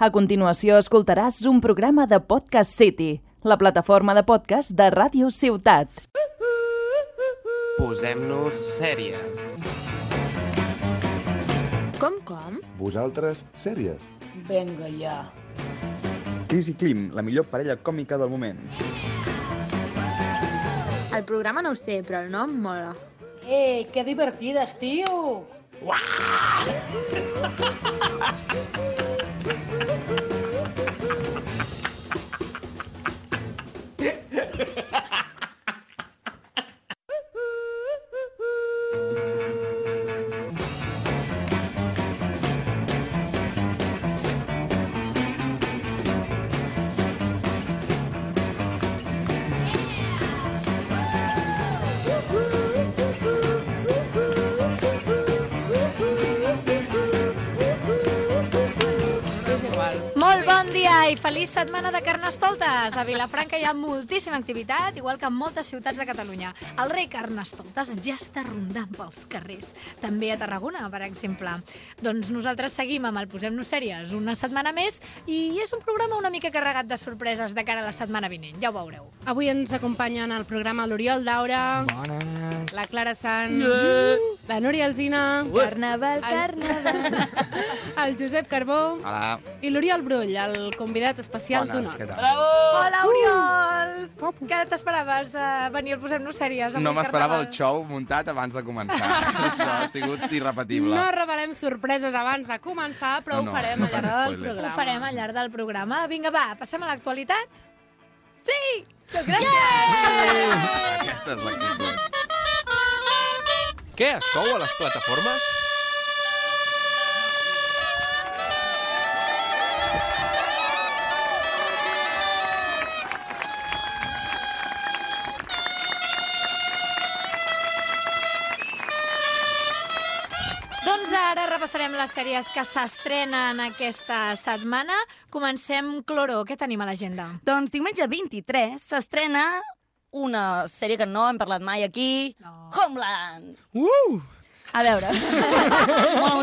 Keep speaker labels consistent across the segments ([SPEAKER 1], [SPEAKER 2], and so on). [SPEAKER 1] A continuació escoltaràs un programa de Podcast City, la plataforma de podcast de Ràdio Ciutat.
[SPEAKER 2] Posem-nos sèries.
[SPEAKER 3] Com, com?
[SPEAKER 4] Vosaltres, sèries.
[SPEAKER 5] Venga ja.
[SPEAKER 6] Chris i Klim, la millor parella còmica del moment.
[SPEAKER 3] El programa no ho sé, però el nom mola.
[SPEAKER 5] Ei, Eh, que divertides, tio!
[SPEAKER 7] Molt bon dia i feliç setmana de Carnestoltes. A Vilafranca hi ha moltíssima activitat, igual que en moltes ciutats de Catalunya. El rei Carnestoltes ja està rondant pels carrers. També a Tarragona, per exemple. Doncs nosaltres seguim amb el Posem-nos Sèries una setmana més i és un programa una mica carregat de sorpreses de cara a la setmana vinent, ja ho veureu.
[SPEAKER 8] Avui ens acompanyen al programa l'Oriol Daura, Bones. la Clara Sant, la Núria Alzina,
[SPEAKER 1] Carnaval,
[SPEAKER 8] carnaval. el Josep Carbó
[SPEAKER 2] Hola.
[SPEAKER 8] i l'Oriol Brull, el convidat especial
[SPEAKER 2] Bones, què
[SPEAKER 8] d'honor.
[SPEAKER 2] tal?
[SPEAKER 7] Hola, Oriol! Que t'esperaves a venir al Posem-nos Sèries? amb
[SPEAKER 2] No
[SPEAKER 7] un
[SPEAKER 2] m'esperava el
[SPEAKER 7] carnaval?
[SPEAKER 2] xou muntat abans de començar. Això ha sigut irrepetible.
[SPEAKER 8] No revelem sorpreses abans de començar, però
[SPEAKER 2] No, no,
[SPEAKER 8] ho farem
[SPEAKER 2] no
[SPEAKER 8] al llarg
[SPEAKER 2] farem
[SPEAKER 8] del
[SPEAKER 2] spoilers.
[SPEAKER 8] programa.
[SPEAKER 7] Ho farem al llarg del programa. Vinga, va, passem a l'actualitat? Sí! Gràcies!
[SPEAKER 2] Aquesta és eh? l'actitud.
[SPEAKER 9] Què es cou a les plataformes?
[SPEAKER 7] Doncs ara repassarem les sèries que s'estrenen aquesta setmana. Comencem, Cloro, què tenim a l'agenda?
[SPEAKER 10] Doncs diumenge 23 s'estrena una sèrie que no hem parlat mai aquí, no. Homeland. Uh! A veure, molt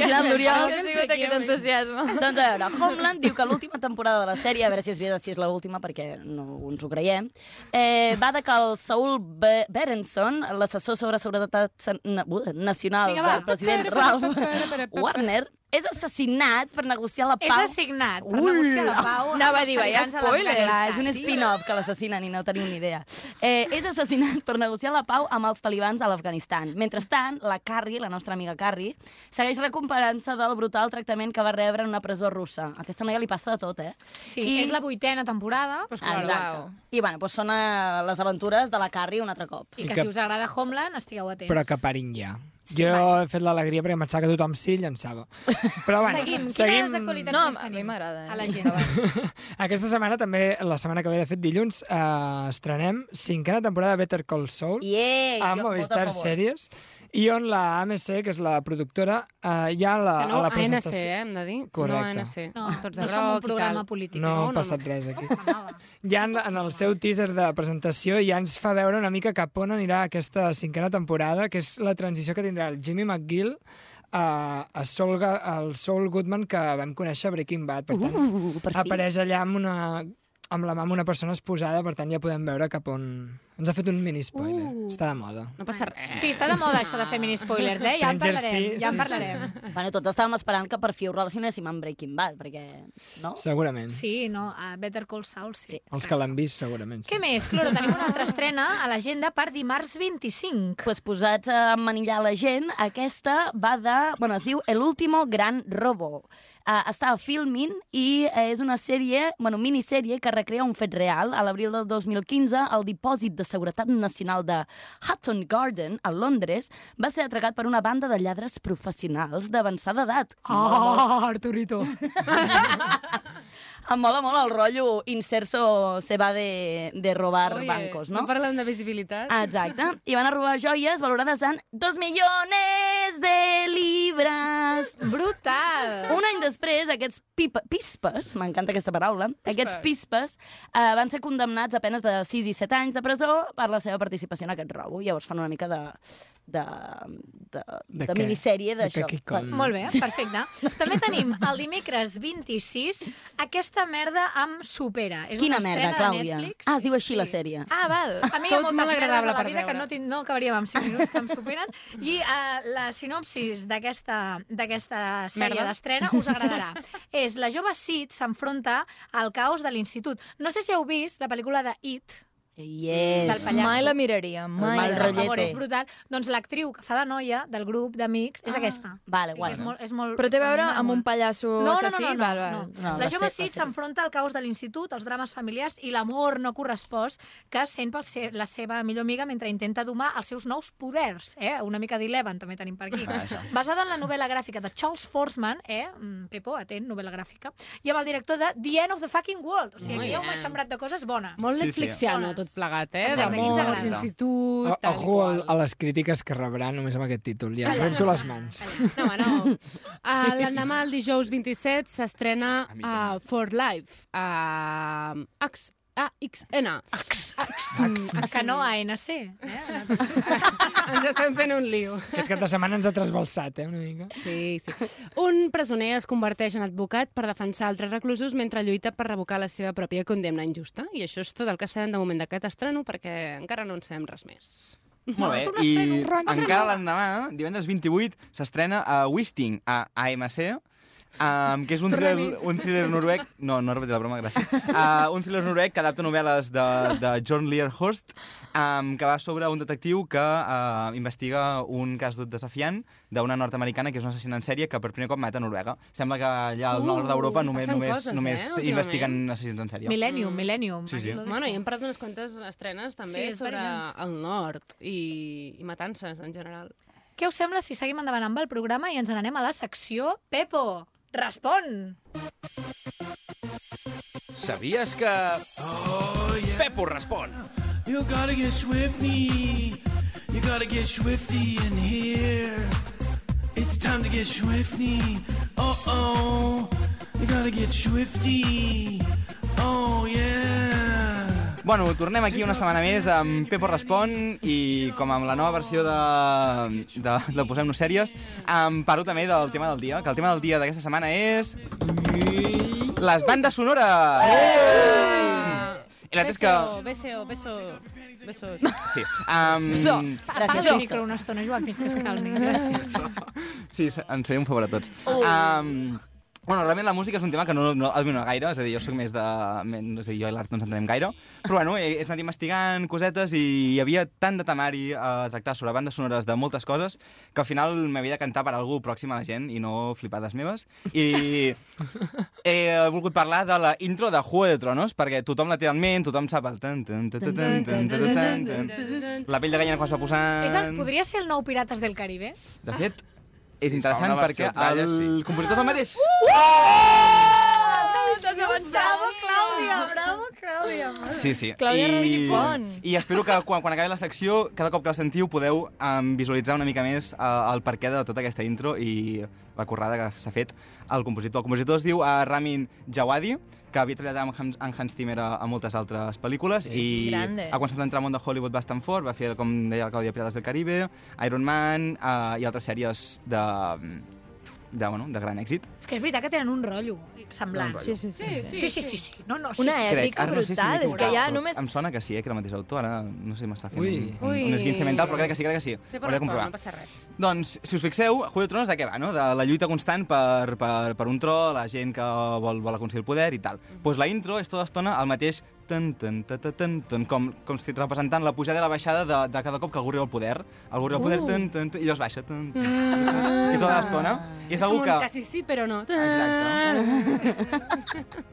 [SPEAKER 10] emocionat l'Oriol.
[SPEAKER 3] sigut aquest entusiasme.
[SPEAKER 10] Doncs a veure, Homeland diu que l'última temporada de la sèrie, a veure si és veritat si és l'última perquè no ens ho creiem, eh, va de que el Saul Be Berenson, l'assessor sobre seguretat san- na- uh, nacional
[SPEAKER 7] Vinga, va.
[SPEAKER 10] del president Ralph Warner, és assassinat per negociar la
[SPEAKER 7] És
[SPEAKER 10] pau.
[SPEAKER 7] assignat per
[SPEAKER 10] Ui!
[SPEAKER 7] negociar la pau.
[SPEAKER 3] Anava a dir, veia
[SPEAKER 7] Ens l'han
[SPEAKER 3] spoiler.
[SPEAKER 7] tancat.
[SPEAKER 10] Clar, és un spin-off que l'assassinen i no teniu ni idea. Eh, és assassinat per negociar la pau amb els talibans a l'Afganistan. Mentrestant, la Carrie, la nostra amiga Carrie, segueix recuperant-se del brutal tractament que va rebre en una presó russa. A aquesta noia li passa de tot, eh?
[SPEAKER 7] Sí, és la vuitena temporada.
[SPEAKER 10] Exacte. I, bueno, doncs són eh, les aventures de la Carrie un altre cop.
[SPEAKER 7] I que,
[SPEAKER 9] que-
[SPEAKER 7] si us agrada Homeland, estigueu atents.
[SPEAKER 9] Però que parin ja.
[SPEAKER 7] Sí,
[SPEAKER 9] jo
[SPEAKER 7] va.
[SPEAKER 9] he fet l'alegria perquè pensava que tothom sí llançava. Però bueno,
[SPEAKER 7] seguim.
[SPEAKER 9] seguim.
[SPEAKER 7] Quines actualitats
[SPEAKER 3] No,
[SPEAKER 7] més
[SPEAKER 3] a mi
[SPEAKER 7] tenim?
[SPEAKER 3] m'agrada. eh?
[SPEAKER 7] A l'agenda.
[SPEAKER 9] Aquesta setmana també, la setmana que ve, de fet, dilluns, eh, estrenem cinquena temporada de Better Call Saul
[SPEAKER 10] Yeee!
[SPEAKER 9] a Movistar Series i on la AMC, que és la productora, eh, ja a la,
[SPEAKER 8] Que no,
[SPEAKER 9] a la
[SPEAKER 8] ANC,
[SPEAKER 9] presentació...
[SPEAKER 8] eh, hem de dir.
[SPEAKER 9] Correcte.
[SPEAKER 8] No, ANC.
[SPEAKER 7] No,
[SPEAKER 8] Tots de
[SPEAKER 7] no som un
[SPEAKER 8] groc i
[SPEAKER 7] programa
[SPEAKER 8] tal.
[SPEAKER 7] polític.
[SPEAKER 9] No,
[SPEAKER 8] no,
[SPEAKER 9] ha
[SPEAKER 8] no.
[SPEAKER 9] passat res aquí.
[SPEAKER 7] Anava.
[SPEAKER 9] Ja en, en el seu teaser de presentació ja ens fa veure una mica cap on anirà aquesta cinquena temporada, que és la transició que tindrà el Jimmy McGill eh, a, a Saul, Ga- al Saul Goodman que vam conèixer a Breaking Bad. Per tant,
[SPEAKER 10] Uh, per fi.
[SPEAKER 9] apareix allà amb, una, amb la mà amb una persona esposada, per tant ja podem veure cap on... Ens ha fet un mini spoiler.
[SPEAKER 7] Uh.
[SPEAKER 9] Està de moda.
[SPEAKER 8] No passa res.
[SPEAKER 7] Sí, està de moda això de fer mini spoilers, eh? Ja en
[SPEAKER 9] Stranger
[SPEAKER 7] parlarem,
[SPEAKER 9] Things,
[SPEAKER 7] ja en
[SPEAKER 9] sí,
[SPEAKER 7] parlarem.
[SPEAKER 10] Bueno, tots estàvem esperant que per fi ho relacionéssim amb Breaking Bad, perquè... No?
[SPEAKER 9] Segurament.
[SPEAKER 7] Sí, no, a Better Call Saul, sí.
[SPEAKER 9] Els que l'han vist, segurament.
[SPEAKER 7] Què més, Cloro? Tenim una altra estrena a l'agenda per dimarts
[SPEAKER 8] Eh,
[SPEAKER 7] 25.
[SPEAKER 10] pues posats a manillar la gent, aquesta va de... Bueno, es diu El último gran robo. Uh, està a Filmin i eh, és una sèrie, bueno, minissèrie que recrea un fet real. A l'abril del 2015, el dipòsit de seguretat nacional de Hutton Garden, a Londres, va ser atracat per una banda de lladres professionals d'avançada edat.
[SPEAKER 9] Ah.
[SPEAKER 8] Oh, Arturito.
[SPEAKER 10] Em mola molt el rotllo inserso se va de, de robar
[SPEAKER 8] Oye,
[SPEAKER 10] bancos, no?
[SPEAKER 8] No parlem de visibilitat.
[SPEAKER 10] Ah, Exacte. I van a robar joies valorades en 2 milions de libres.
[SPEAKER 8] Mm.
[SPEAKER 7] Brutal!
[SPEAKER 10] Un any després, aquests pipa, pispes, m'encanta aquesta paraula, aquests pispes eh, van ser condemnats a penes de 6 i 7 anys de presó per la seva participació en aquest robo. Llavors fan una mica de de, de,
[SPEAKER 9] De
[SPEAKER 10] de
[SPEAKER 9] què?
[SPEAKER 10] minissèrie
[SPEAKER 9] De
[SPEAKER 10] d'això.
[SPEAKER 9] Kaki Kon.
[SPEAKER 10] Molt
[SPEAKER 7] Molt bé, eh? perfecte. També tenim el dimecres 26 aquesta merda amb Supera. És
[SPEAKER 10] Quina
[SPEAKER 7] una
[SPEAKER 10] merda,
[SPEAKER 7] estrena de
[SPEAKER 10] Clàudia?
[SPEAKER 7] Netflix.
[SPEAKER 10] Ah, es diu així la sèrie.
[SPEAKER 7] Ah, val. A mi hi ha
[SPEAKER 8] Tot
[SPEAKER 7] moltes
[SPEAKER 8] molt
[SPEAKER 7] merdes
[SPEAKER 8] agradable
[SPEAKER 7] a la
[SPEAKER 8] per
[SPEAKER 7] vida que
[SPEAKER 8] veure.
[SPEAKER 7] no, tinc, no acabaríem amb 5 minuts, que em superen. I uh, la sinopsis d'aquesta d'aquesta sèrie
[SPEAKER 8] Merda.
[SPEAKER 7] d'estrena us agradarà. És la jove Sid s'enfronta al caos de l'institut. No sé si heu vist la pel·lícula de It, del
[SPEAKER 10] Yes.
[SPEAKER 7] pallasso.
[SPEAKER 3] Mai la miraria, mai.
[SPEAKER 10] mal
[SPEAKER 7] per
[SPEAKER 10] rotllet.
[SPEAKER 7] favor, és
[SPEAKER 10] rollete.
[SPEAKER 7] brutal. Doncs l'actriu que fa de noia del grup d'amics
[SPEAKER 8] Ah.
[SPEAKER 7] és aquesta.
[SPEAKER 10] Vale,
[SPEAKER 7] Sí, que
[SPEAKER 10] guai.
[SPEAKER 7] és molt, és molt,
[SPEAKER 3] Però té a veure
[SPEAKER 7] mola
[SPEAKER 3] amb un
[SPEAKER 7] molt.
[SPEAKER 3] pallasso
[SPEAKER 7] No, no, no,
[SPEAKER 3] assassí?
[SPEAKER 7] no, no,
[SPEAKER 3] val, val.
[SPEAKER 7] no.
[SPEAKER 10] No,
[SPEAKER 7] La
[SPEAKER 10] va
[SPEAKER 7] jove
[SPEAKER 10] ser- va
[SPEAKER 7] Sid
[SPEAKER 10] ser-
[SPEAKER 7] s'enfronta al caos de l'institut, els drames familiars i l'amor no correspost que sent pel se la seva millor amiga mentre intenta domar els seus nous poders. Eh? Una mica d'Eleven també tenim per aquí.
[SPEAKER 2] Ah,
[SPEAKER 7] Basada en la novel·la gràfica de Charles Forsman, eh? Mm, Pepo, atent, novel·la gràfica, i amb el director de The End of the Fucking World. O sigui,
[SPEAKER 8] Molt
[SPEAKER 7] aquí hi ha un
[SPEAKER 8] bé.
[SPEAKER 7] eixambrat de coses bones.
[SPEAKER 8] Molt
[SPEAKER 2] Sí, sí.
[SPEAKER 8] netflixiano, tot plegat, eh?
[SPEAKER 7] Exacte,
[SPEAKER 2] quins
[SPEAKER 8] D'amor,
[SPEAKER 2] agrada.
[SPEAKER 8] institut...
[SPEAKER 9] O-
[SPEAKER 8] tal i
[SPEAKER 9] Ojo
[SPEAKER 8] qual.
[SPEAKER 9] al- a les crítiques que rebrà només amb aquest títol. Ja rento les mans.
[SPEAKER 8] No, home, no. Uh, L'endemà, el dijous 27, s'estrena
[SPEAKER 2] A mi
[SPEAKER 8] uh,
[SPEAKER 2] també.
[SPEAKER 8] For Life. Uh, X, A, X, N. X, X, X.
[SPEAKER 7] A que no a ANC. Eh?
[SPEAKER 8] Ens estem fent un lío.
[SPEAKER 9] Aquest cap de setmana ens ha trasbalsat, eh, una mica.
[SPEAKER 8] Sí, sí. Un presoner es converteix en advocat per defensar altres reclusos mentre lluita per revocar la seva pròpia condemna injusta. I això és tot el que sabem de moment d'aquest estreno, perquè encara no en sabem res més.
[SPEAKER 11] Molt bé,
[SPEAKER 7] un estreno,
[SPEAKER 11] i
[SPEAKER 7] un rotllo.
[SPEAKER 11] encara l'endemà, divendres 28, s'estrena a Wisting, a AMC, Um, que és un thriller, un thriller noruec... No, no he repetit la broma, gràcies. Uh, un thriller noruec que adapta novel·les de, de John Learhorst, um, que va sobre un detectiu que uh, investiga un cas tot desafiant d'una nord-americana que és una assassina en sèrie que per primer cop mata a Noruega. Sembla que allà al
[SPEAKER 8] Uh,
[SPEAKER 11] nord d'Europa
[SPEAKER 8] sí,
[SPEAKER 11] només,
[SPEAKER 8] passen
[SPEAKER 11] només,
[SPEAKER 8] coses, eh,
[SPEAKER 11] només
[SPEAKER 8] últimament.
[SPEAKER 11] investiguen assassins en sèrie.
[SPEAKER 7] Millennium, Millennium.
[SPEAKER 11] Sí, sí.
[SPEAKER 7] Aquí lo dejo.
[SPEAKER 8] Bueno, i hem parlat unes quantes estrenes també
[SPEAKER 7] Sí, és
[SPEAKER 8] sobre
[SPEAKER 7] variant.
[SPEAKER 8] el nord i, i matances en general.
[SPEAKER 7] Què us sembla si seguim endavant amb el programa i ens n'anem a la secció Pepo? Respon!
[SPEAKER 11] Sabies que... Pepo respon.
[SPEAKER 5] You gotta get swifty. You gotta get swifty in here. It's time to get swifty. Uh oh. You gotta get swifty. Oh yeah.
[SPEAKER 11] Bueno, tornem aquí una setmana més amb Pepo Respon i com amb la nova versió de, de, de Posem-nos Sèries, em parlo també del tema del dia, que el tema del dia d'aquesta setmana és... Les bandes sonores! I la veritat és que...
[SPEAKER 8] Beso, beso, beso, besos.
[SPEAKER 11] Sí. Um,
[SPEAKER 3] So.
[SPEAKER 7] Gràcies,
[SPEAKER 10] Gràcies.
[SPEAKER 7] Parla el micro una estona, Joan, fins que es calmi.
[SPEAKER 11] Mm.
[SPEAKER 7] Gràcies.
[SPEAKER 11] Sí, se- ens faria un favor a tots. Um, bueno, realment la música és un tema que no, no domino gaire, és a dir, jo sóc més de... men- És a dir, jo i l'art no ens entenem gaire, però bueno, he, he anat investigant cosetes i hi havia tant de temari a tractar sobre bandes sonores de moltes coses que al final m'havia de cantar per algú pròxim a la gent i no flipades meves. I he volgut parlar de la intro de Juego de Tronos, perquè tothom la té en ment, tothom sap el... Tan, tan, tan, tan, tan, tan, tan, tan, tan. La pell de gallina quan es va
[SPEAKER 7] És el,
[SPEAKER 11] posant...
[SPEAKER 7] podria ser el nou Pirates del Caribe?
[SPEAKER 11] De fet, és
[SPEAKER 2] Sí,
[SPEAKER 11] interessant
[SPEAKER 2] fa una versió
[SPEAKER 11] perquè
[SPEAKER 2] tralla,
[SPEAKER 11] el
[SPEAKER 2] sí.
[SPEAKER 11] compositor és el mateix.
[SPEAKER 7] Estàs avançant, Clàudia! Bravo, Clàudia!
[SPEAKER 11] Sí, sí.
[SPEAKER 3] Clàudia Resipon.
[SPEAKER 11] I espero que quan, quan acabi la secció, cada cop que la sentiu, podeu um, visualitzar una mica més uh, el perquè de tota aquesta intro i la corrada que s'ha fet al compositor. El compositor es diu uh, Ramin Djawadi, que havia treballat amb Hans, amb Hans Zimmer a, a moltes altres pel·lícules i
[SPEAKER 3] Grande.
[SPEAKER 11] ha començat a entrar al món de Hollywood bastant fort, va fer, com deia la Clàudia, Pirates del Caribe, Iron Man uh, i altres sèries de, de, bueno, de gran èxit.
[SPEAKER 7] És que és veritat que tenen un rotllo semblant.
[SPEAKER 11] Gran rotllo.
[SPEAKER 3] Sí, sí, sí. sí,
[SPEAKER 7] Sí, sí, sí. sí. No, no, sí,
[SPEAKER 3] Una
[SPEAKER 7] sí,
[SPEAKER 11] Crec,
[SPEAKER 7] sí.
[SPEAKER 3] èpica
[SPEAKER 11] ara no sé si m'he
[SPEAKER 3] brutal, és
[SPEAKER 11] equivocat,
[SPEAKER 3] que ja
[SPEAKER 11] però
[SPEAKER 3] només-
[SPEAKER 11] Em sona que sí, eh, que era el mateix autor, ara no sé si m'està fent
[SPEAKER 9] Ui.
[SPEAKER 11] un, un,
[SPEAKER 8] Ui.
[SPEAKER 11] un esguince mental, però crec que sí, crec que sí.
[SPEAKER 8] Té
[SPEAKER 11] Hauré de comprovar.
[SPEAKER 8] no passa res.
[SPEAKER 11] Doncs, si us fixeu, Juego de Tronos de què va, no? De la lluita constant per, per, per un tro, la gent que vol, vol aconseguir el poder i tal. Doncs
[SPEAKER 8] Mm.
[SPEAKER 11] pues la intro és tota l'estona el mateix tan, tan, tan, tan, tan, tan, com, com si representant la pujada i la baixada de, de cada cop que algú arriba al poder. Algú
[SPEAKER 8] Uh.
[SPEAKER 11] arriba al poder, tan, tan, tan, i llavors baixa. Tan, tan, tan, I tota l'estona. I és,
[SPEAKER 8] Ah. És
[SPEAKER 11] algú
[SPEAKER 8] com un
[SPEAKER 11] que...
[SPEAKER 8] quasi sí, però no.
[SPEAKER 11] Exacte.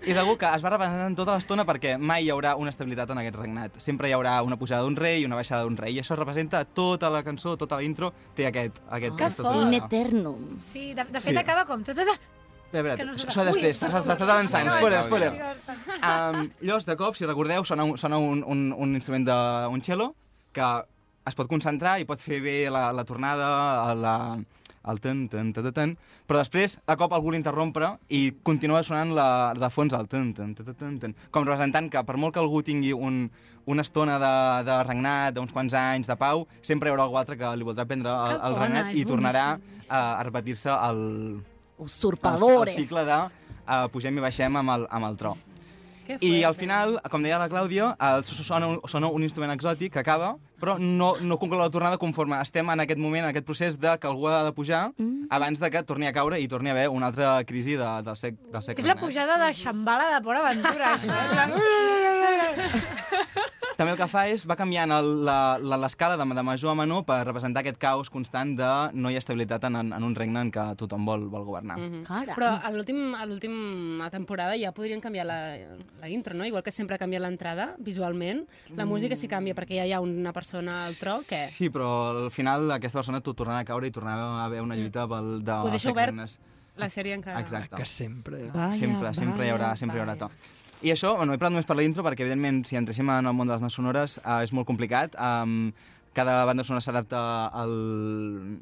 [SPEAKER 11] és algú que es va representant tota l'estona perquè mai hi haurà una estabilitat en aquest regnat. Sempre hi haurà una pujada d'un rei i una baixada d'un rei. I això representa tota la cançó, tota la intro, té aquest... aquest
[SPEAKER 10] Que eh?
[SPEAKER 11] aquesta
[SPEAKER 7] fort.
[SPEAKER 10] In
[SPEAKER 11] tonada.
[SPEAKER 10] eternum.
[SPEAKER 7] Sí, de, de fet
[SPEAKER 11] Sí.
[SPEAKER 7] acaba com... Ta, ta, ta.
[SPEAKER 11] Espera,
[SPEAKER 7] Que no
[SPEAKER 11] espera,
[SPEAKER 7] sona.
[SPEAKER 11] això després,
[SPEAKER 7] Ui,
[SPEAKER 11] t'estàs t'estàs avançant,
[SPEAKER 2] no, no,
[SPEAKER 11] spoiler,
[SPEAKER 2] no,
[SPEAKER 11] spoiler.
[SPEAKER 2] no,
[SPEAKER 11] Um, llavors, de cop, si recordeu, sona un, sona un, un, un instrument de, un cello que es pot concentrar i pot fer bé la, la tornada, la, el tan, tan, tan, tan, tan, però després, de cop, algú l'interrompre i continua sonant la, de fons el tan, tan, tan, tan, tan, tan, com representant que per molt que algú tingui un, una estona de, de regnat, d'uns quants anys, de pau, sempre hi haurà algú altre que li voldrà prendre el,
[SPEAKER 10] Que
[SPEAKER 11] el
[SPEAKER 10] bona,
[SPEAKER 11] regnat i
[SPEAKER 10] és
[SPEAKER 11] tornarà a, a repetir-se el, el,
[SPEAKER 10] Usurpadores.
[SPEAKER 11] el cicle de uh, pugem i baixem amb el, amb el tro.
[SPEAKER 10] Que
[SPEAKER 11] I al final, com deia la Clàudia, el so- so- sona, un- sona un instrument exòtic que acaba, però no, no conclou la tornada conforme estem en aquest moment, en aquest procés de que algú ha de pujar
[SPEAKER 7] Mm.
[SPEAKER 11] abans de que torni a caure i torni a haver una altra crisi de, del, sec, del segle. eh?
[SPEAKER 7] És la
[SPEAKER 11] XIX.
[SPEAKER 7] pujada de Xambala de Port Aventura, això.
[SPEAKER 11] També el que fa és, va canviant el- la- la- l'escala de, de major a menor per representar aquest caos constant de no hi ha estabilitat en, en, en un regne en què tothom vol, vol governar. Mm
[SPEAKER 10] -hmm. Caram.
[SPEAKER 8] Però a l'últim- a l'última temporada ja podrien canviar la, la intro, no? Igual que sempre canvia l'entrada, visualment. La música sí canvia, perquè ja hi ha una persona al tro que...
[SPEAKER 11] Sí, però al final aquesta persona tot tornarà a caure i tornarà a haver una lluita pel, de
[SPEAKER 8] Ho deixa
[SPEAKER 11] segle
[SPEAKER 8] obert
[SPEAKER 11] regnes.
[SPEAKER 8] La sèrie encara...
[SPEAKER 11] Exacte.
[SPEAKER 9] Ah, Que sempre...
[SPEAKER 8] Vaya,
[SPEAKER 11] sempre, sempre hi haurà,
[SPEAKER 8] vaya,
[SPEAKER 11] sempre hi haurà to. I això, bueno, he parlat només per la intro, perquè evidentment si entréssim en el món de les nanes sonores eh, és molt complicat. Um, cada banda sonora s'adapta al,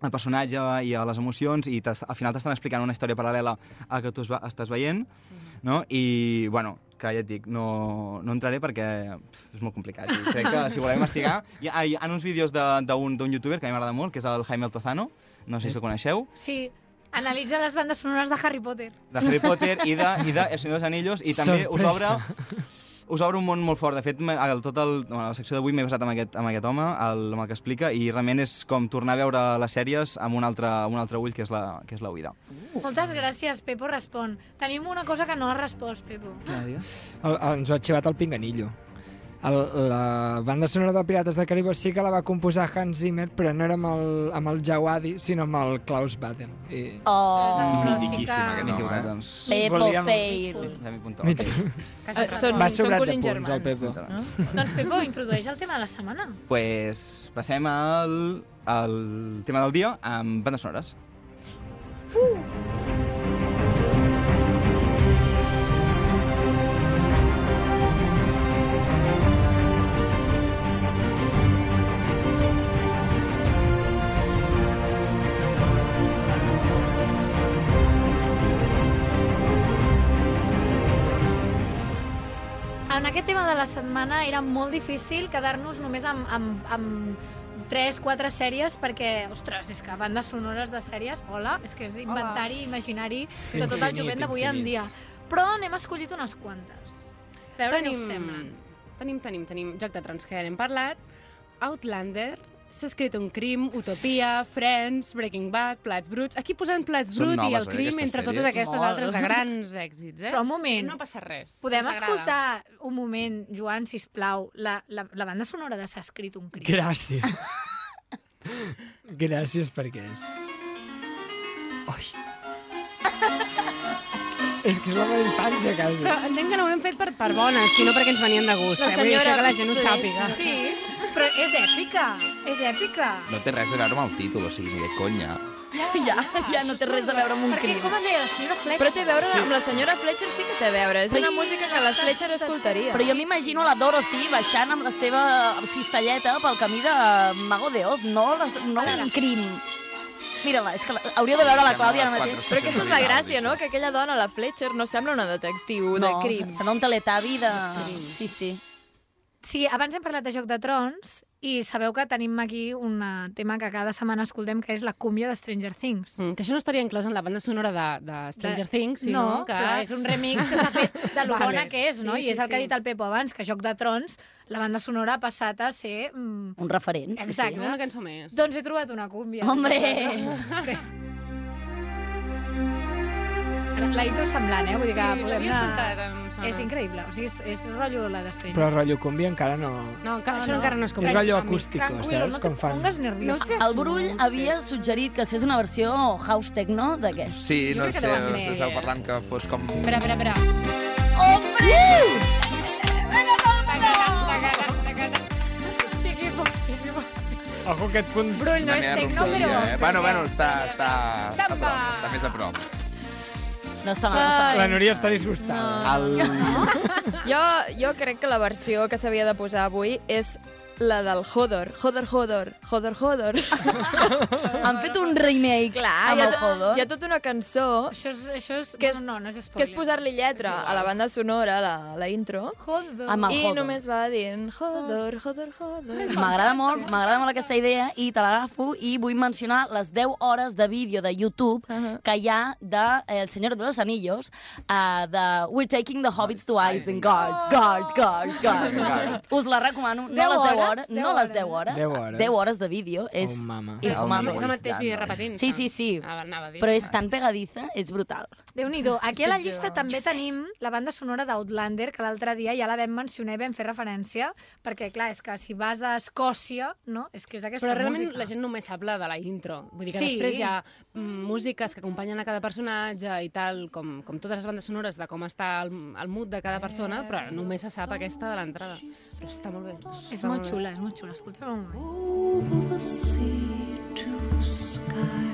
[SPEAKER 11] al personatge i a les emocions i t'es- al final t'estan explicant una història paral·lela a que tu es va, estàs veient,
[SPEAKER 8] Mm-hmm.
[SPEAKER 11] no? I, bueno, que ja et dic, no, no entraré perquè pff, és molt complicat. I crec que si voleu investigar... Hi ha, hi ha uns vídeos de- d'un d'un youtuber que a mi m'agrada molt, que és el Jaime Altozano, no sé si el coneixeu,
[SPEAKER 7] Sí, analitza les bandes sonores de Harry Potter.
[SPEAKER 11] de Harry Potter i de, i de El Senyor dels Anillos i també us obre
[SPEAKER 5] Sorpresa.
[SPEAKER 11] us obre un món molt fort. De fet, me- el, tot el, bueno, la secció d'avui m'he basat en aquest, en aquest home, el, amb el que explica, i realment és com tornar a veure les sèries amb un altre, amb un altre ull, que és la, que és la oïda.
[SPEAKER 7] Moltes gràcies, Pepo Respon. Tenim una cosa que no has respost, Pepo.
[SPEAKER 9] El, el, ens ho ha xivat el Pinganillo. El, la banda sonora de Pirates de Caribó sí que la va composar Hans Zimmer, però no era amb el, amb el Jawadi, sinó amb el Klaus Baden. I...
[SPEAKER 10] Oh.
[SPEAKER 3] Ah,
[SPEAKER 2] Mitiquíssim, aquest
[SPEAKER 11] Mickey
[SPEAKER 2] home, eh?
[SPEAKER 11] Buttons.
[SPEAKER 10] Pepo
[SPEAKER 9] Volíem-
[SPEAKER 10] Fail.
[SPEAKER 11] Ja m'hi apuntava.
[SPEAKER 9] Mig-
[SPEAKER 12] Ah,
[SPEAKER 7] Casa
[SPEAKER 3] Eh,
[SPEAKER 8] Ah,
[SPEAKER 3] són,
[SPEAKER 9] Va
[SPEAKER 3] són
[SPEAKER 9] sobrat de
[SPEAKER 3] cosins
[SPEAKER 9] punts, el
[SPEAKER 3] germans.
[SPEAKER 9] Pepo.
[SPEAKER 3] No?
[SPEAKER 7] Doncs Pepo, introdueix el tema de la setmana.
[SPEAKER 11] Pues passem al, al tema del dia amb bandes sonores.
[SPEAKER 7] En aquest tema de la setmana era molt difícil quedar-nos només amb, amb, amb 3, 4 sèries perquè, ostres, és que bandes sonores de sèries, hola, és que és inventari imaginari de tot el
[SPEAKER 9] Infinit,
[SPEAKER 7] jovent d'avui en
[SPEAKER 9] infinit.
[SPEAKER 7] dia. Però n'hem escollit unes quantes. A veure què us sembla.
[SPEAKER 8] Tenim, tenim, tenim, tenim Joc de Trons, que ja n'hem parlat. Outlander, s'ha escrit un crim, Utopia, Friends, Breaking Bad, Plats Bruts... Aquí posant Plats
[SPEAKER 2] Són
[SPEAKER 8] Bruts i
[SPEAKER 2] noves,
[SPEAKER 8] el
[SPEAKER 11] eh,
[SPEAKER 2] oi,
[SPEAKER 8] crim
[SPEAKER 2] aquestes
[SPEAKER 8] entre totes
[SPEAKER 2] sèries?
[SPEAKER 8] aquestes
[SPEAKER 7] Molt.
[SPEAKER 8] altres de grans èxits, eh?
[SPEAKER 7] Però un moment,
[SPEAKER 8] no passa res.
[SPEAKER 7] podem
[SPEAKER 8] ens agrada.
[SPEAKER 7] escoltar un moment, Joan, si plau, la, la, la banda sonora de S'ha escrit un crim.
[SPEAKER 9] Gràcies. Gràcies perquè és... Ai. És que és la meva infància,
[SPEAKER 8] Però
[SPEAKER 9] quasi.
[SPEAKER 8] entenc que no ho hem fet per, per bones, sinó perquè ens venien de gust.
[SPEAKER 3] La
[SPEAKER 8] eh? Vull dir, això
[SPEAKER 3] senyora
[SPEAKER 8] que la gent ho
[SPEAKER 3] Dutch.
[SPEAKER 8] sàpiga.
[SPEAKER 7] Sí, però és èpica, és èpica.
[SPEAKER 2] No té res a veure amb el títol, o sigui, ni de conya.
[SPEAKER 10] Ja, ja no té res a veure amb un
[SPEAKER 7] Perquè
[SPEAKER 10] crim.
[SPEAKER 7] com es deia la senyora Fletcher?
[SPEAKER 3] Però té a veure amb la senyora Fletcher sí que té a veure. És una música que les Fletcher escoltaria.
[SPEAKER 10] Però jo m'imagino la Dorothy baixant amb la seva cistelleta pel camí de Mago de Oz, no, la, no un crim. Mira-la, és que la, hauria de veure la Clàudia ara mateix.
[SPEAKER 3] Però aquesta és la gràcia, no? Que aquella dona, la Fletcher, no sembla una detectiu de
[SPEAKER 10] no,
[SPEAKER 3] crims.
[SPEAKER 10] Serà un teletavi de... Sí, sí.
[SPEAKER 7] Sí, abans hem parlat de Joc de Trons i sabeu que tenim aquí un eh, tema que cada setmana escoltem, que és la cúmbia de Stranger Things.
[SPEAKER 8] Mm, que això no estaria inclòs en la banda sonora de, de Stranger
[SPEAKER 7] De-
[SPEAKER 8] Things, sinó
[SPEAKER 7] no,
[SPEAKER 8] que...
[SPEAKER 7] però és un remix que s'ha fet de lo
[SPEAKER 8] Vale.
[SPEAKER 7] bona que és, no?
[SPEAKER 8] Sí,
[SPEAKER 7] I és
[SPEAKER 8] sí,
[SPEAKER 7] el que ha
[SPEAKER 8] sí.
[SPEAKER 7] dit el Pepo abans, que Joc de Trons, la banda sonora ha passat a ser... Mm,
[SPEAKER 10] Un referent. Sí,
[SPEAKER 7] Exacte.
[SPEAKER 8] Una cançó més.
[SPEAKER 7] Doncs he trobat una cúmbia.
[SPEAKER 10] Hombre!
[SPEAKER 7] La intro és semblant, eh? Vull dir que
[SPEAKER 8] Sí,
[SPEAKER 7] podem
[SPEAKER 8] l'havia
[SPEAKER 7] anar-
[SPEAKER 8] escoltat, em
[SPEAKER 10] Ah.
[SPEAKER 8] sona.
[SPEAKER 7] És increïble, o sigui, és, és rotllo la d'Estrella.
[SPEAKER 9] Però rotllo cúmbia encara no...
[SPEAKER 8] No, encara,
[SPEAKER 7] No,
[SPEAKER 8] això
[SPEAKER 7] no.
[SPEAKER 8] encara no és com...
[SPEAKER 9] És rotllo acústico,
[SPEAKER 7] Tranquilo,
[SPEAKER 9] saps?
[SPEAKER 7] no te
[SPEAKER 9] Com fan...
[SPEAKER 7] pongas nerviosa.
[SPEAKER 8] No
[SPEAKER 10] El Brull havia suggerit que es fes una versió house techno d'aquest.
[SPEAKER 2] Sí,
[SPEAKER 7] Jo
[SPEAKER 2] no
[SPEAKER 7] crec que
[SPEAKER 2] sé,
[SPEAKER 7] no va ser.
[SPEAKER 2] estava parlant que fos com...
[SPEAKER 7] Espera, espera, espera.
[SPEAKER 10] Hombre!
[SPEAKER 7] Chiqui pop, chiqui pop.
[SPEAKER 9] Ojo aquest punt...
[SPEAKER 7] Brull no
[SPEAKER 2] Una
[SPEAKER 7] és
[SPEAKER 2] mea
[SPEAKER 7] tecno, però...
[SPEAKER 2] roncolia, eh? Bueno, bueno, està, està, a
[SPEAKER 7] Samba.
[SPEAKER 2] prop, està més a prop.
[SPEAKER 10] No està mal, no està
[SPEAKER 9] La Núria està disgustada.
[SPEAKER 11] El...
[SPEAKER 3] Jo, jo crec que la versió que s'havia de posar avui és
[SPEAKER 12] la del Hodor. Hodor, Hodor, Hodor, Hodor.
[SPEAKER 7] Ah.
[SPEAKER 10] Han fet un remake
[SPEAKER 12] Clar,
[SPEAKER 10] amb
[SPEAKER 12] hi ha,
[SPEAKER 10] el
[SPEAKER 12] to-
[SPEAKER 10] Hodor.
[SPEAKER 12] hi ha tota una cançó
[SPEAKER 7] Això és... Això és
[SPEAKER 12] que és,
[SPEAKER 7] bueno, no, no és
[SPEAKER 12] que
[SPEAKER 7] spoiler.
[SPEAKER 12] és posar-li lletra a la banda sonora, la, la intro,
[SPEAKER 7] Hodor.
[SPEAKER 10] Amb el
[SPEAKER 12] i
[SPEAKER 10] Hodor.
[SPEAKER 12] només va dient Hodor, Hodor, Hodor.
[SPEAKER 10] M'agrada molt, m'agrada molt aquesta idea i te l'agafo i vull mencionar les 10 hores de vídeo de YouTube que hi ha de eh, El Senyor de los Anillos uh, de We're taking the hobbits to Isengard, guard, guard, guard. Us la recomano, no
[SPEAKER 7] Deu
[SPEAKER 10] les 10
[SPEAKER 7] hores?
[SPEAKER 10] hores,
[SPEAKER 7] Deu
[SPEAKER 10] no les
[SPEAKER 7] hores.
[SPEAKER 10] 10 hores,
[SPEAKER 9] Deu hores.
[SPEAKER 10] 10 hores de vídeo, és
[SPEAKER 9] Oh, mama.
[SPEAKER 10] és
[SPEAKER 5] És,
[SPEAKER 10] mama.
[SPEAKER 5] és el mateix vídeo repetint
[SPEAKER 10] Sí, sí, sí,
[SPEAKER 9] Ah,
[SPEAKER 5] Anava a dir.
[SPEAKER 10] però és tan pegadiza, és brutal.
[SPEAKER 7] Déu-n'hi-do. Aquí a la llista també tenim la banda sonora d'Outlander, que l'altre dia ja la vam mencionar i vam fer referència, perquè, clar, és que si vas a Escòcia, no? És que és aquesta
[SPEAKER 5] Però realment
[SPEAKER 7] música.
[SPEAKER 5] la gent només sap la de la intro. Vull dir que
[SPEAKER 7] Sí.
[SPEAKER 5] després hi ha mm, músiques que acompanyen a cada personatge i tal, com, com totes les bandes sonores de com està el, el mood de cada persona, però només se sap aquesta de l'entrada. Però està molt bé.
[SPEAKER 7] És
[SPEAKER 5] Està
[SPEAKER 7] molt
[SPEAKER 5] bé.
[SPEAKER 7] xula, és molt xula. Escolta'm un moment.
[SPEAKER 13] Over the sea to sky,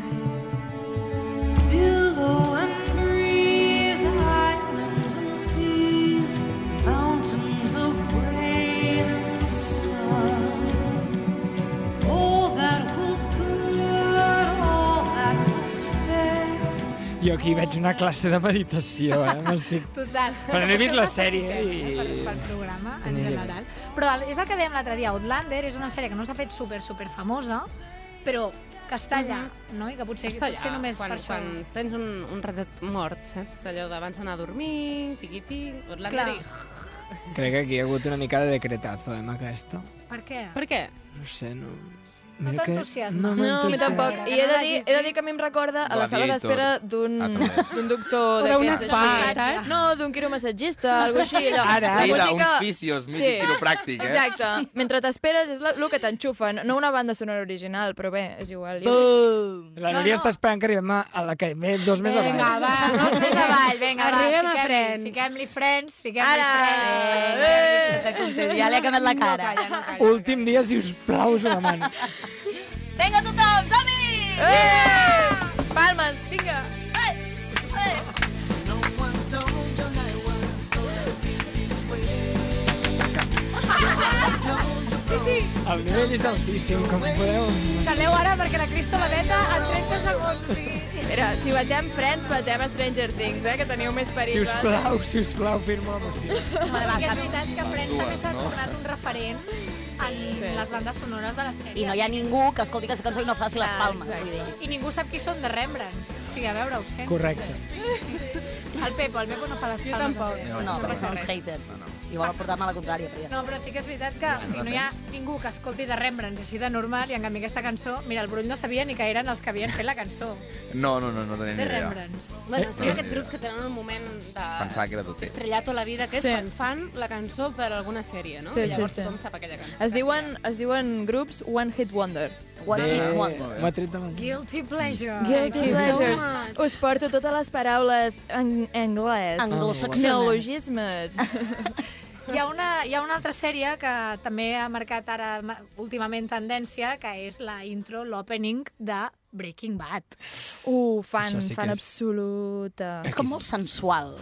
[SPEAKER 13] pillow and breeze, islands and seas, mountains of rain and sun. Oh. All that was good, all that was fair.
[SPEAKER 9] Jo aquí veig una classe de meditació, eh? M'estic...
[SPEAKER 7] Total.
[SPEAKER 9] Però no he vist la sèrie,
[SPEAKER 7] Eh?
[SPEAKER 9] i-
[SPEAKER 7] Per, per programa, en
[SPEAKER 9] No hi és.
[SPEAKER 7] general. Però el- és el que dèiem l'altre dia, Outlander és una sèrie que no s'ha fet super, super famosa, però que està allà, no? I que potser,
[SPEAKER 5] Mhm. Està
[SPEAKER 7] potser
[SPEAKER 5] allà,
[SPEAKER 7] només
[SPEAKER 5] quan,
[SPEAKER 7] per això...
[SPEAKER 5] quan tens un, un ratet mort, saps? Allò d'abans d'anar a dormir, tiquiti, Orlando
[SPEAKER 7] Clar.
[SPEAKER 5] i...
[SPEAKER 9] Crec que aquí hi ha hagut una mica de decretazo, eh, amb aquesta.
[SPEAKER 7] Per què?
[SPEAKER 5] Per què?
[SPEAKER 9] No sé, no...
[SPEAKER 7] No
[SPEAKER 9] Mira que-
[SPEAKER 7] t'entusiasma.
[SPEAKER 12] No,
[SPEAKER 9] No,
[SPEAKER 12] a mi
[SPEAKER 9] m'entusiasma.
[SPEAKER 12] tampoc. I he de dir, he de dir que a mi em recorda a la sala
[SPEAKER 11] Gladiator.
[SPEAKER 12] d'espera d'un
[SPEAKER 11] Ah, també.
[SPEAKER 12] d'un doctor
[SPEAKER 5] O d'un
[SPEAKER 12] d'aquests
[SPEAKER 5] spa,
[SPEAKER 12] així.
[SPEAKER 5] saps?
[SPEAKER 12] No, d'un quiromassatgista, alguna cosa així. Allò.
[SPEAKER 9] Ara,
[SPEAKER 12] La
[SPEAKER 9] ara.
[SPEAKER 11] Sí,
[SPEAKER 12] música-
[SPEAKER 11] d'un fisios, mític
[SPEAKER 12] Sí.
[SPEAKER 11] quiropràctic, eh?
[SPEAKER 12] Exacte. Mentre t'esperes és el que t'enxufen. No una banda sonora original, però bé, és igual. Jo...
[SPEAKER 10] Boom!
[SPEAKER 9] La Núria està esperant que arribem a, a la que ve dos més avall.
[SPEAKER 7] Vinga, va, dos més avall, vinga, va,
[SPEAKER 5] Arribem a
[SPEAKER 7] fiquem-hi,
[SPEAKER 5] Friends.
[SPEAKER 7] Fiquem-li Friends, fiquem-li
[SPEAKER 12] Ara!
[SPEAKER 7] Friends.
[SPEAKER 10] Ja li ha canviat la cara.
[SPEAKER 7] No calla, no calla.
[SPEAKER 9] Últim dia, si us plau, us ho demano.
[SPEAKER 10] Vinga, tothom, som-hi!
[SPEAKER 12] Eh! Palmes, vinga!
[SPEAKER 9] El nivell és altíssim, com podeu...
[SPEAKER 7] Saleu ara perquè la Cristo Valeta en 30 segons.
[SPEAKER 12] Mira, si batem Friends, batem Stranger Things, eh? Que teniu més
[SPEAKER 9] Si
[SPEAKER 12] peribles.
[SPEAKER 9] us plau, si us plau, firma la moció.
[SPEAKER 7] I és veritat que Friends també s'ha tornat un referent en les bandes sonores de la sèrie.
[SPEAKER 10] I no hi ha ningú que escolti aquesta cançó i no faci les
[SPEAKER 12] Ah,
[SPEAKER 10] palmes,
[SPEAKER 12] exacte.
[SPEAKER 10] vull dir.
[SPEAKER 7] I ningú sap qui són de Rembrandts. O sigui, a veure, ho sento.
[SPEAKER 9] Correcte.
[SPEAKER 7] El Pepo, el Pepo no fa les palmes. Jo tampoc.
[SPEAKER 10] No, perquè són uns haters. I volen portar-me a la contrària, però ja
[SPEAKER 7] No, però sí que és veritat que o sigui, no hi ha ningú que escolti de Rembrandts així de normal i en canvi aquesta cançó, mira, el Brull no sabia ni que eren els que havien fet la cançó
[SPEAKER 11] No, no, no, no tenia ni
[SPEAKER 7] de
[SPEAKER 11] idea.
[SPEAKER 7] Rembrandts.
[SPEAKER 5] Bueno, són aquests grups que tenen un moment de...
[SPEAKER 11] Pensava que era tot ell.
[SPEAKER 5] estrellato a la vida, que és
[SPEAKER 12] Sí.
[SPEAKER 5] sí. quan fan la cançó per alguna sèrie, no?
[SPEAKER 12] Sí,
[SPEAKER 5] I
[SPEAKER 12] sí,
[SPEAKER 5] llavors
[SPEAKER 12] sí.
[SPEAKER 5] tothom sap aquella cançó.
[SPEAKER 12] Es diuen, es diuen grups One Hit Wonder.
[SPEAKER 10] està. One hit wonder.
[SPEAKER 9] M'ha tret de la...
[SPEAKER 7] Guilty Pleasure.
[SPEAKER 12] Guilty Pleasures.
[SPEAKER 5] much.
[SPEAKER 12] Us porto totes les paraules en anglès.
[SPEAKER 10] Anglosaxones.
[SPEAKER 12] Neologismes.
[SPEAKER 7] Hi ha, una, hi ha una altra sèrie que també ha marcat ara ma- últimament tendència, que és la intro, l'opening de Breaking Bad.
[SPEAKER 12] Uh, fan,
[SPEAKER 9] Això sí que
[SPEAKER 12] fan
[SPEAKER 9] és-
[SPEAKER 12] absoluta.
[SPEAKER 10] És com molt sensual.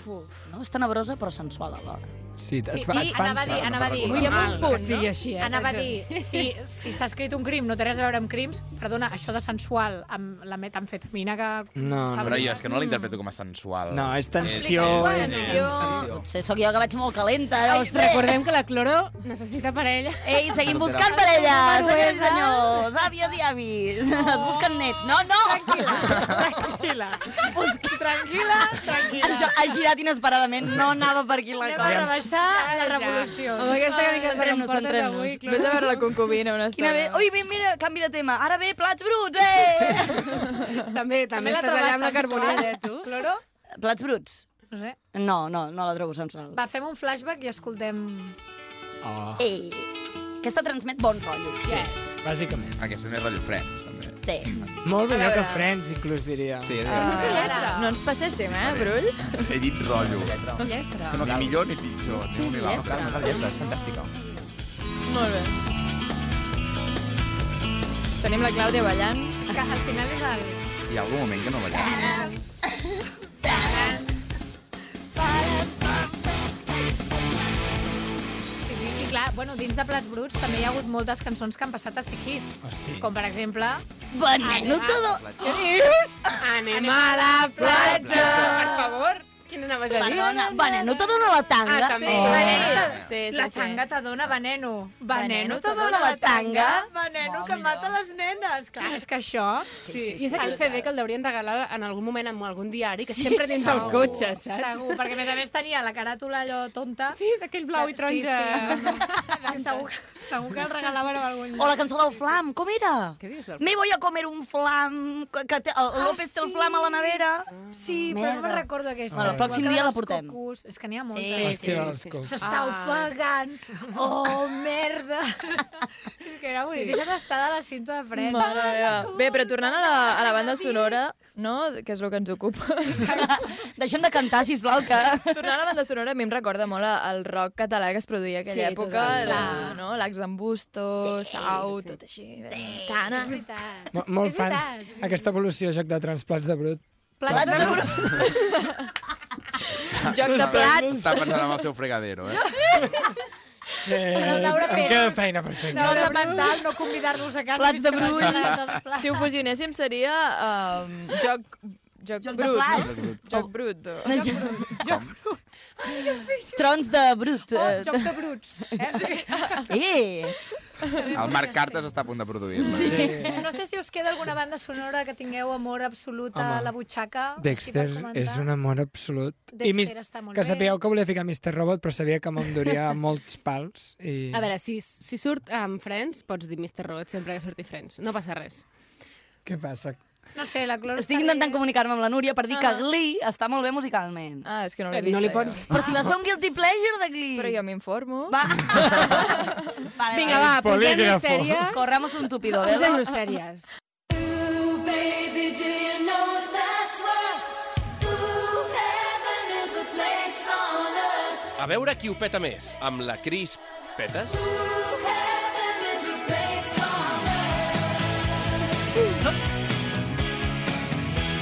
[SPEAKER 10] No? És tenebrosa, però sensual alhora.
[SPEAKER 9] Sí, et
[SPEAKER 7] Sí,
[SPEAKER 9] fa,
[SPEAKER 7] i
[SPEAKER 9] et fan...
[SPEAKER 7] anava a dir,
[SPEAKER 11] Clar,
[SPEAKER 7] anava a dir,
[SPEAKER 11] no
[SPEAKER 12] I amb un punt,
[SPEAKER 5] Que sigui
[SPEAKER 12] no?
[SPEAKER 5] així, eh?
[SPEAKER 7] Anava a
[SPEAKER 5] que-
[SPEAKER 7] dir, si, si s'ha escrit un crim, no té res a veure amb crims, perdona, això de sensual amb la metamfetamina que...
[SPEAKER 9] No, no.
[SPEAKER 11] Però jo és que no l'interpreto
[SPEAKER 7] Mm.
[SPEAKER 11] com a sensual.
[SPEAKER 9] No, és tensió.
[SPEAKER 12] Bueno,
[SPEAKER 9] és-
[SPEAKER 12] jo...
[SPEAKER 10] Potser sóc jo que vaig molt calenta, no
[SPEAKER 5] Ai,
[SPEAKER 10] ho sé.
[SPEAKER 5] recordem que la Cloro necessita parella.
[SPEAKER 10] Ei, seguim buscant parelles, senyors i senyors, àvies i avis. Es busquen net. No, no!
[SPEAKER 7] Tranquil·la,
[SPEAKER 10] Busca...
[SPEAKER 7] tranquil·la, tranquil·la.
[SPEAKER 10] Això ha girat inesperadament, no anava per aquí la
[SPEAKER 7] Anem a
[SPEAKER 10] cosa.
[SPEAKER 7] rebaixar la revolució.
[SPEAKER 10] Amb aquesta mica de
[SPEAKER 7] Centrem-nos,
[SPEAKER 10] que em portes
[SPEAKER 7] centrem-nos.
[SPEAKER 10] avui,
[SPEAKER 12] Ves a veure la concubina una
[SPEAKER 10] Quina
[SPEAKER 12] estona.
[SPEAKER 10] bé... Ui, mira, mira, canvi de tema. Ara ve plats bruts, eh!
[SPEAKER 5] També, també
[SPEAKER 7] estàs allà amb la carbonera,
[SPEAKER 5] eh, tu?
[SPEAKER 7] Cloro?
[SPEAKER 10] Plats bruts.
[SPEAKER 7] No sé.
[SPEAKER 10] No, no, no la trobo sensual.
[SPEAKER 7] Va, fem un flashback i escoltem...
[SPEAKER 9] Oh,
[SPEAKER 10] Ei, aquesta transmet bon rotllo. Sí.
[SPEAKER 9] bàsicament.
[SPEAKER 11] Aquesta és més rotllo Friends, també.
[SPEAKER 10] sí.
[SPEAKER 9] Molt bé, que Friends, inclús, diria.
[SPEAKER 14] Sí, és
[SPEAKER 12] Ah,
[SPEAKER 14] veritat.
[SPEAKER 12] no ens passéssim, eh, Brull?
[SPEAKER 11] He dit rotllo. Ni millor ni pitjor, ni un ni l'altre.
[SPEAKER 14] és fantàstica.
[SPEAKER 12] Molt bé. Tenim la Clàudia ballant.
[SPEAKER 7] És que al final és el...
[SPEAKER 11] Hi ha algun moment que no ballem.
[SPEAKER 7] I, i clar, bueno, dins de Plats Bruts també hi ha hagut moltes cançons que han passat a ser hit.
[SPEAKER 9] Hosti.
[SPEAKER 7] Com, per exemple...
[SPEAKER 10] Banano
[SPEAKER 7] Anem a-
[SPEAKER 10] todo.
[SPEAKER 7] Què dius?
[SPEAKER 15] Anem a la platja! Per favor, quina anaves a dir?
[SPEAKER 10] Perdona, banano te dona la tanga.
[SPEAKER 15] Ah, també.
[SPEAKER 10] Sí.
[SPEAKER 7] Veneno.
[SPEAKER 15] Sí, sí,
[SPEAKER 7] la
[SPEAKER 15] sí.
[SPEAKER 7] tanga t'adona veneno. Veneno
[SPEAKER 15] Veneno
[SPEAKER 7] t'adona la tanga. Veneno que mata les nenes. Clar, és que això...
[SPEAKER 8] Sí, I és aquell CD que el deurien regalar en algun moment en algun diari, que
[SPEAKER 7] Sí,
[SPEAKER 8] sempre tens
[SPEAKER 7] segur,
[SPEAKER 8] al cotxe, saps?
[SPEAKER 7] Segur, perquè a més a més tenia la caràtula allò tonta.
[SPEAKER 15] Sí, d'aquell blau i taronja.
[SPEAKER 7] Sí, sí. segur, segur que el regalaven a algun
[SPEAKER 10] Oh. O la cançó del flam, com era?
[SPEAKER 8] Què dius del
[SPEAKER 10] Me voy a comer un flam, que, que té, el
[SPEAKER 7] Ah,
[SPEAKER 10] López té el
[SPEAKER 7] sí.
[SPEAKER 10] flam a la nevera.
[SPEAKER 7] Sí, però no
[SPEAKER 10] Merda.
[SPEAKER 7] me'n recordo aquesta.
[SPEAKER 10] Bueno, el pròxim
[SPEAKER 7] Igual que
[SPEAKER 10] dia la
[SPEAKER 7] dels
[SPEAKER 10] portem.
[SPEAKER 7] Cocos. És que n'hi ha moltes.
[SPEAKER 10] Sí, Ah.
[SPEAKER 9] Hòstia, sí, dels sí. cocos.
[SPEAKER 7] S'està
[SPEAKER 15] Ai.
[SPEAKER 7] ofegant. Oh, merda. és que era bonic. Sí. Deixa't estar de la cinta de fred.
[SPEAKER 3] Mare meva. Bé, però tornant a la, a la banda sonora, no? Que és el que ens ocupa.
[SPEAKER 10] Deixem de cantar, sisplau, que...
[SPEAKER 3] Tornant a la banda sonora, a mi em recorda molt a- el rock català que es produïa aquella
[SPEAKER 10] Sí, tot
[SPEAKER 3] època.
[SPEAKER 10] el
[SPEAKER 3] la,
[SPEAKER 10] rock.
[SPEAKER 3] no? L'Ax en Busto, sí, Sau, sí, tot així. Sí. Tana.
[SPEAKER 7] És veritat.
[SPEAKER 9] Mo- Molt
[SPEAKER 7] És
[SPEAKER 9] fan.
[SPEAKER 7] veritat, és
[SPEAKER 9] Aquesta evolució, joc de trons, plats de brut.
[SPEAKER 7] Plats de brut.
[SPEAKER 3] Joc de plats.
[SPEAKER 2] Està pensant amb el seu fregadero, eh?
[SPEAKER 9] Eh,
[SPEAKER 7] Però el Laura
[SPEAKER 9] em
[SPEAKER 7] Pérez-
[SPEAKER 9] queda feina per fer.
[SPEAKER 7] Nota mental, no convidar-los a casa.
[SPEAKER 10] Plats de
[SPEAKER 7] fins que
[SPEAKER 10] brut.
[SPEAKER 7] vagin a les plats.
[SPEAKER 3] Si ho fusionéssim seria um, joc, joc,
[SPEAKER 10] Joc de
[SPEAKER 3] brut,
[SPEAKER 10] plats.
[SPEAKER 3] no? Joc brut.
[SPEAKER 10] No, jo... Trons de brut.
[SPEAKER 7] Oh, joc de bruts. Eh? O sigui,
[SPEAKER 10] Eh!
[SPEAKER 2] El Marc Cartes està a punt de produir-la. Sí.
[SPEAKER 7] No sé si us queda alguna banda sonora que tingueu amor absolut a
[SPEAKER 9] Home,
[SPEAKER 7] la butxaca.
[SPEAKER 9] Dexter
[SPEAKER 7] així per comentar.
[SPEAKER 9] és un amor absolut.
[SPEAKER 7] Dexter
[SPEAKER 9] mis-
[SPEAKER 7] està molt
[SPEAKER 9] que
[SPEAKER 7] bé.
[SPEAKER 9] sabíeu que volia ficar Mr. Robot, però sabia que me'n duria molts pals. I...
[SPEAKER 8] A veure, si, si surt amb Friends, pots dir Mr. Robot sempre que surti Friends. No passa res.
[SPEAKER 9] Què passa?
[SPEAKER 7] No sé, la Cloro...
[SPEAKER 10] Estic
[SPEAKER 7] està
[SPEAKER 10] intentant
[SPEAKER 7] rient.
[SPEAKER 10] comunicar-me amb la Núria per dir que Glee està molt bé musicalment.
[SPEAKER 3] Ah, és que no
[SPEAKER 9] Eh,
[SPEAKER 3] l'he vist.
[SPEAKER 9] no li pots...
[SPEAKER 10] Però si vas fer un guilty pleasure de Glee.
[SPEAKER 3] Però jo m'informo.
[SPEAKER 10] Va. vale,
[SPEAKER 8] Vinga, va, posem-nos
[SPEAKER 9] Polígrafo.
[SPEAKER 8] sèries.
[SPEAKER 10] Corramos un tupido,
[SPEAKER 8] Posem-nos
[SPEAKER 10] ¿verdad?
[SPEAKER 8] sèries.
[SPEAKER 16] A veure qui ho peta més, amb la Cris Petes?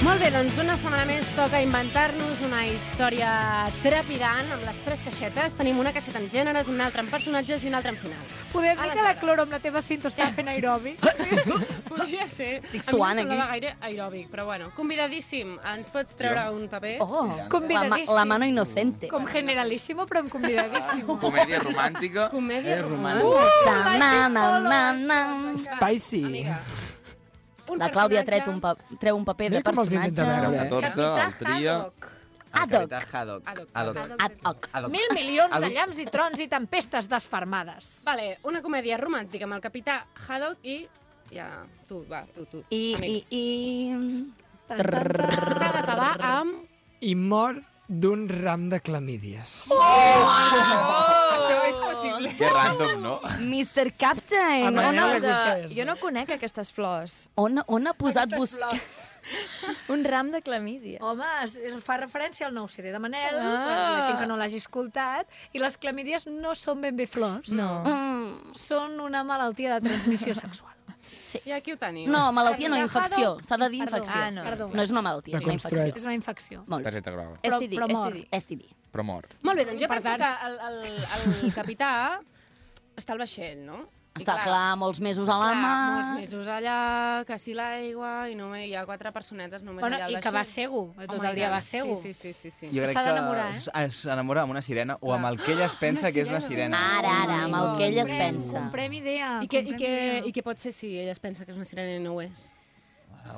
[SPEAKER 8] Molt bé, doncs una setmana més toca inventar-nos una història trepidant amb les tres caixetes. Tenim una caixeta amb gèneres, una altra amb personatges i una altra amb finals.
[SPEAKER 7] Podem dir que la
[SPEAKER 8] Aleshores.
[SPEAKER 7] Cloro amb la teva cinta està fent aeròbic?
[SPEAKER 8] Podria ser. Estic A
[SPEAKER 10] suant
[SPEAKER 8] mi no em semblava gaire aeròbic, però bueno. Convidadíssim, ens pots treure un paper?
[SPEAKER 10] Oh, la, ma-
[SPEAKER 7] Convidadíssim.
[SPEAKER 10] la mano inocente.
[SPEAKER 7] Com generalíssimo, però amb convidadíssim.
[SPEAKER 2] Comèdia romàntica.
[SPEAKER 8] Comèdia
[SPEAKER 11] Eh,
[SPEAKER 8] romana.
[SPEAKER 11] romàntica.
[SPEAKER 10] Ta- Uh, ma- ma- ma- ma.
[SPEAKER 9] Eh, Spicy.
[SPEAKER 10] La Clàudia ha tret un, pa treu un paper de
[SPEAKER 9] Mira com els intenta
[SPEAKER 2] Era
[SPEAKER 10] personatge.
[SPEAKER 2] un
[SPEAKER 9] veure,
[SPEAKER 2] 14,
[SPEAKER 9] eh?
[SPEAKER 2] el tria...
[SPEAKER 10] Ad hoc.
[SPEAKER 11] Haddock.
[SPEAKER 8] Haddock.
[SPEAKER 11] Haddock.
[SPEAKER 10] Ad hoc.
[SPEAKER 11] Haddock.
[SPEAKER 7] Mil milions de
[SPEAKER 11] Adult.
[SPEAKER 7] llamps i trons i tempestes desfermades.
[SPEAKER 8] Vale, una comèdia romàntica amb el capità Haddock i... Ja, tu, va, tu, tu.
[SPEAKER 10] I, i, i...
[SPEAKER 8] S'ha d'acabar amb...
[SPEAKER 9] I mor d'un ram de clamídies.
[SPEAKER 7] Oh!
[SPEAKER 15] Això és possible.
[SPEAKER 2] Que random, no?
[SPEAKER 10] Mr. Captain,
[SPEAKER 12] Ah,
[SPEAKER 9] A
[SPEAKER 10] on,
[SPEAKER 9] Manel
[SPEAKER 10] ha-
[SPEAKER 9] li
[SPEAKER 12] eh,
[SPEAKER 9] gusta això.
[SPEAKER 3] jo no conec aquestes flors.
[SPEAKER 10] on, on ha posat vostè?
[SPEAKER 3] Un ram de
[SPEAKER 2] Oh,
[SPEAKER 3] clamídia.
[SPEAKER 7] Home, es, es fa referència al nou CD de Manel,
[SPEAKER 3] Ah.
[SPEAKER 7] ah. la gent que no l'hagi escoltat, i les clamídies no són ben bé flors. No.
[SPEAKER 10] Mm,
[SPEAKER 7] Són una malaltia de transmissió sexual.
[SPEAKER 8] I aquí ho teniu.
[SPEAKER 10] no, malaltia no,
[SPEAKER 7] Perdó,
[SPEAKER 10] infecció.
[SPEAKER 7] Haddock.
[SPEAKER 10] S'ha de dir
[SPEAKER 7] Perdó.
[SPEAKER 10] infecció.
[SPEAKER 7] Ah, no. Perdó.
[SPEAKER 10] no és una malaltia, és una
[SPEAKER 9] Deconstrueix.
[SPEAKER 10] infecció.
[SPEAKER 7] És una infecció.
[SPEAKER 10] Molt bé.
[SPEAKER 2] Targeta groga.
[SPEAKER 7] Però-
[SPEAKER 3] STD,
[SPEAKER 7] però mort.
[SPEAKER 3] STD.
[SPEAKER 10] STD.
[SPEAKER 2] Però mort.
[SPEAKER 8] Molt bé, doncs jo
[SPEAKER 7] Per
[SPEAKER 8] penso
[SPEAKER 7] tant-
[SPEAKER 8] que el, el, el capità està al vaixell, no? I
[SPEAKER 10] Està clar, molts mesos a la
[SPEAKER 8] clar,
[SPEAKER 10] mà.
[SPEAKER 8] molts mesos allà, que si l'aigua, i només hi ha quatre personetes només
[SPEAKER 7] Bueno,
[SPEAKER 8] allà al
[SPEAKER 7] I
[SPEAKER 8] vaixell.
[SPEAKER 7] que va segur, eh, tot
[SPEAKER 8] Home,
[SPEAKER 7] el
[SPEAKER 8] i
[SPEAKER 7] dia
[SPEAKER 8] tant.
[SPEAKER 7] va segur.
[SPEAKER 8] Sí, sí, sí, sí. sí.
[SPEAKER 11] Jo crec
[SPEAKER 7] S'ha d'enamorar,
[SPEAKER 11] que s- es- s'enamora amb una sirena o amb el que ella es pensa que és una sirena.
[SPEAKER 10] Ara, ara, amb el que ella es pensa.
[SPEAKER 7] Comprem idea.
[SPEAKER 8] I, què, i, què, I què pot ser si ella es pensa que és una sirena i no ho és?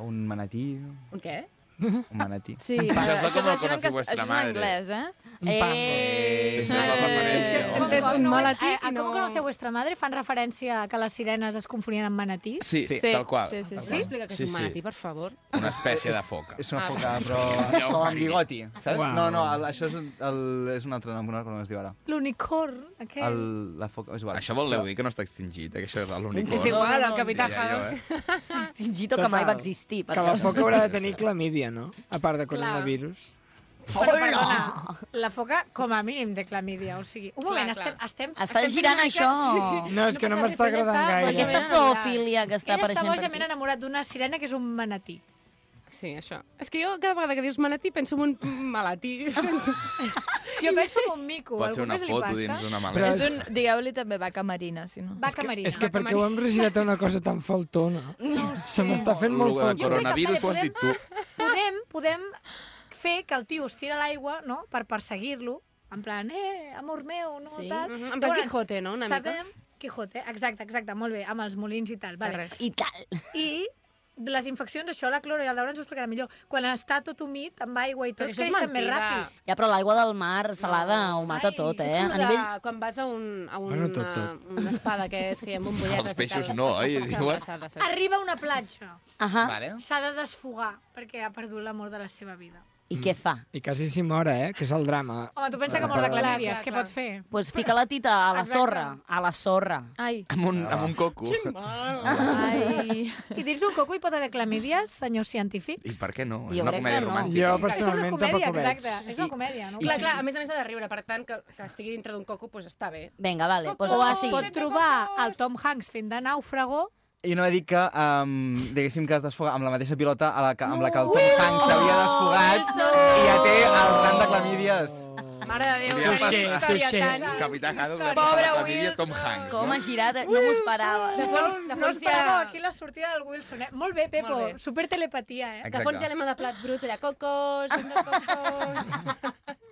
[SPEAKER 11] Un manatí,
[SPEAKER 8] Un què?
[SPEAKER 11] un manatí.
[SPEAKER 3] Sí,
[SPEAKER 2] Això és la com la
[SPEAKER 3] això en
[SPEAKER 2] conocí
[SPEAKER 3] cas-
[SPEAKER 2] vuestra
[SPEAKER 3] això és en
[SPEAKER 2] madre.
[SPEAKER 3] anglès, eh?
[SPEAKER 9] Un pam.
[SPEAKER 2] És la
[SPEAKER 3] Eh,
[SPEAKER 2] referència. home.
[SPEAKER 8] és un malatí
[SPEAKER 7] A, a,
[SPEAKER 8] i
[SPEAKER 7] com
[SPEAKER 8] no-
[SPEAKER 7] conoceu vuestra madre fan referència a que les sirenes es confonien amb manatís.
[SPEAKER 2] Sí, sí, tal qual.
[SPEAKER 3] Sí, sí,
[SPEAKER 2] Tal
[SPEAKER 8] Sí?
[SPEAKER 3] sí.
[SPEAKER 2] qual.
[SPEAKER 8] Explica que és
[SPEAKER 2] Sí,
[SPEAKER 8] un
[SPEAKER 2] sí.
[SPEAKER 8] manatí, per favor.
[SPEAKER 2] Una espècie de foca.
[SPEAKER 11] És una foca, però com amb bigoti, saps?
[SPEAKER 9] Uau.
[SPEAKER 11] No, no, el, això és, el, és un altre nom, no recordo com es diu ara.
[SPEAKER 7] L'unicorn, aquell.
[SPEAKER 11] El, la foca, és igual.
[SPEAKER 2] Això voleu dir que no està extingit, eh, que això és l'únic.
[SPEAKER 15] És igual, el capità
[SPEAKER 2] Diria jo,
[SPEAKER 15] Haddock.
[SPEAKER 2] eh?
[SPEAKER 10] Extingito que
[SPEAKER 9] Total.
[SPEAKER 10] mai va existir.
[SPEAKER 9] Que la foca haurà de tenir clamídia, no? A part de coronavirus.
[SPEAKER 7] Però, perdona, la foca com a mínim de clamídia, o sigui... Un moment, estem, estem...
[SPEAKER 10] Està
[SPEAKER 7] estem fent
[SPEAKER 10] girant
[SPEAKER 7] una mica-
[SPEAKER 10] això.
[SPEAKER 9] No, és que no
[SPEAKER 7] passa
[SPEAKER 9] m'està
[SPEAKER 7] res, però ella
[SPEAKER 9] agradant
[SPEAKER 7] està
[SPEAKER 9] gaire.
[SPEAKER 10] Aquesta
[SPEAKER 7] bojament enamorat.
[SPEAKER 10] zoofília que està
[SPEAKER 7] Ella està
[SPEAKER 10] apareixent per
[SPEAKER 7] bojament
[SPEAKER 10] aquí.
[SPEAKER 7] enamorat d'una sirena que és un manatí.
[SPEAKER 17] Sí, això. És que jo cada vegada que dius malatí penso en un malatí.
[SPEAKER 7] jo penso en un mico.
[SPEAKER 11] Pot ser una foto dins d'una
[SPEAKER 12] Però
[SPEAKER 11] maleta.
[SPEAKER 12] és un... Digueu-li també vaca marina, si no.
[SPEAKER 7] Vaca marina.
[SPEAKER 9] És que per què ho hem regirat a una cosa tan faltona?
[SPEAKER 7] No ho
[SPEAKER 9] Se m'està fent molt
[SPEAKER 11] Lo de
[SPEAKER 9] faltona.
[SPEAKER 11] coronavirus ho has dit tu.
[SPEAKER 7] podem, podem fer que el tio es tira a l'aigua no? per perseguir-lo, en plan, eh, amor meu, no,
[SPEAKER 17] Sí.
[SPEAKER 7] tal.
[SPEAKER 17] Mhm, en plan
[SPEAKER 7] Llavors,
[SPEAKER 17] Quijote, no? Una mica.
[SPEAKER 7] sabem, Quijote, exacte, exacte, molt bé, amb els molins i tal. Vale.
[SPEAKER 10] I tal.
[SPEAKER 7] I les infeccions, això la cloro i el Daura ens ho explicarà millor, quan està tot humit, amb aigua i tot,
[SPEAKER 10] això és
[SPEAKER 7] creixen més
[SPEAKER 10] mentida.
[SPEAKER 7] ràpid.
[SPEAKER 10] Ja, però l'aigua del mar salada ho mata tot,
[SPEAKER 2] Això
[SPEAKER 10] eh?
[SPEAKER 2] és com
[SPEAKER 10] A
[SPEAKER 2] de,
[SPEAKER 10] nivell...
[SPEAKER 2] quan vas a, un, a un,
[SPEAKER 10] Bueno,
[SPEAKER 2] bueno,
[SPEAKER 10] tot,
[SPEAKER 2] tot,
[SPEAKER 10] tot.
[SPEAKER 2] una espada que es feien bombolletes...
[SPEAKER 11] Els peixos no, oi? Diuen.
[SPEAKER 7] Arriba a una platja.
[SPEAKER 10] Ahà.
[SPEAKER 11] Vale.
[SPEAKER 7] S'ha de desfogar perquè ha perdut l'amor de la seva vida.
[SPEAKER 10] I què fa?
[SPEAKER 9] I quasi s'hi mor, eh? Que és el drama.
[SPEAKER 7] Home, tu pensa que mor de clamídies, què pot fer?
[SPEAKER 10] Pues fica la tita a la
[SPEAKER 7] Exacte.
[SPEAKER 10] sorra. A la sorra.
[SPEAKER 7] Ai.
[SPEAKER 11] Amb un, amb un coco.
[SPEAKER 7] Ai. I dins un coco hi pot haver clamídies, senyors científics?
[SPEAKER 11] I per què no? És
[SPEAKER 7] Jo
[SPEAKER 11] una
[SPEAKER 7] crec
[SPEAKER 11] comèdia
[SPEAKER 7] que no.
[SPEAKER 11] romàntica.
[SPEAKER 9] Jo, personalment,
[SPEAKER 7] comèdia,
[SPEAKER 9] tampoc ho veig.
[SPEAKER 7] exacte. És una comèdia, no?
[SPEAKER 2] Clar, clar, a més a més ha de riure, per tant, que, que estigui dintre d'un coco, doncs està bé.
[SPEAKER 10] Vinga, vale.
[SPEAKER 7] Pues
[SPEAKER 10] Pues,
[SPEAKER 7] o
[SPEAKER 10] o
[SPEAKER 7] es pot trobar el Tom Hanks fent de nàufrago.
[SPEAKER 18] Jo no he dit que, um, diguéssim, que es desfoga amb la mateixa pilota a la que, amb la que el Tom Hanks s'havia desfogat i ja té el ram de clamídies.
[SPEAKER 7] Mare de
[SPEAKER 11] Li ha passat. Capità Haddock.
[SPEAKER 7] Pobre
[SPEAKER 11] la família
[SPEAKER 7] Wilson.
[SPEAKER 11] Tom Hanks.
[SPEAKER 10] Com
[SPEAKER 11] no?
[SPEAKER 10] ha girat, no m'ho esperava.
[SPEAKER 7] De fons, de
[SPEAKER 2] no es
[SPEAKER 7] fons no ja...
[SPEAKER 2] parava
[SPEAKER 7] aquí la sortida del Wilson, eh? Molt bé, Pepo,
[SPEAKER 2] Molt bé.
[SPEAKER 7] super telepatia, eh?
[SPEAKER 2] De fons ja l'hem de plats bruts, allà, cocos, vent de cocos...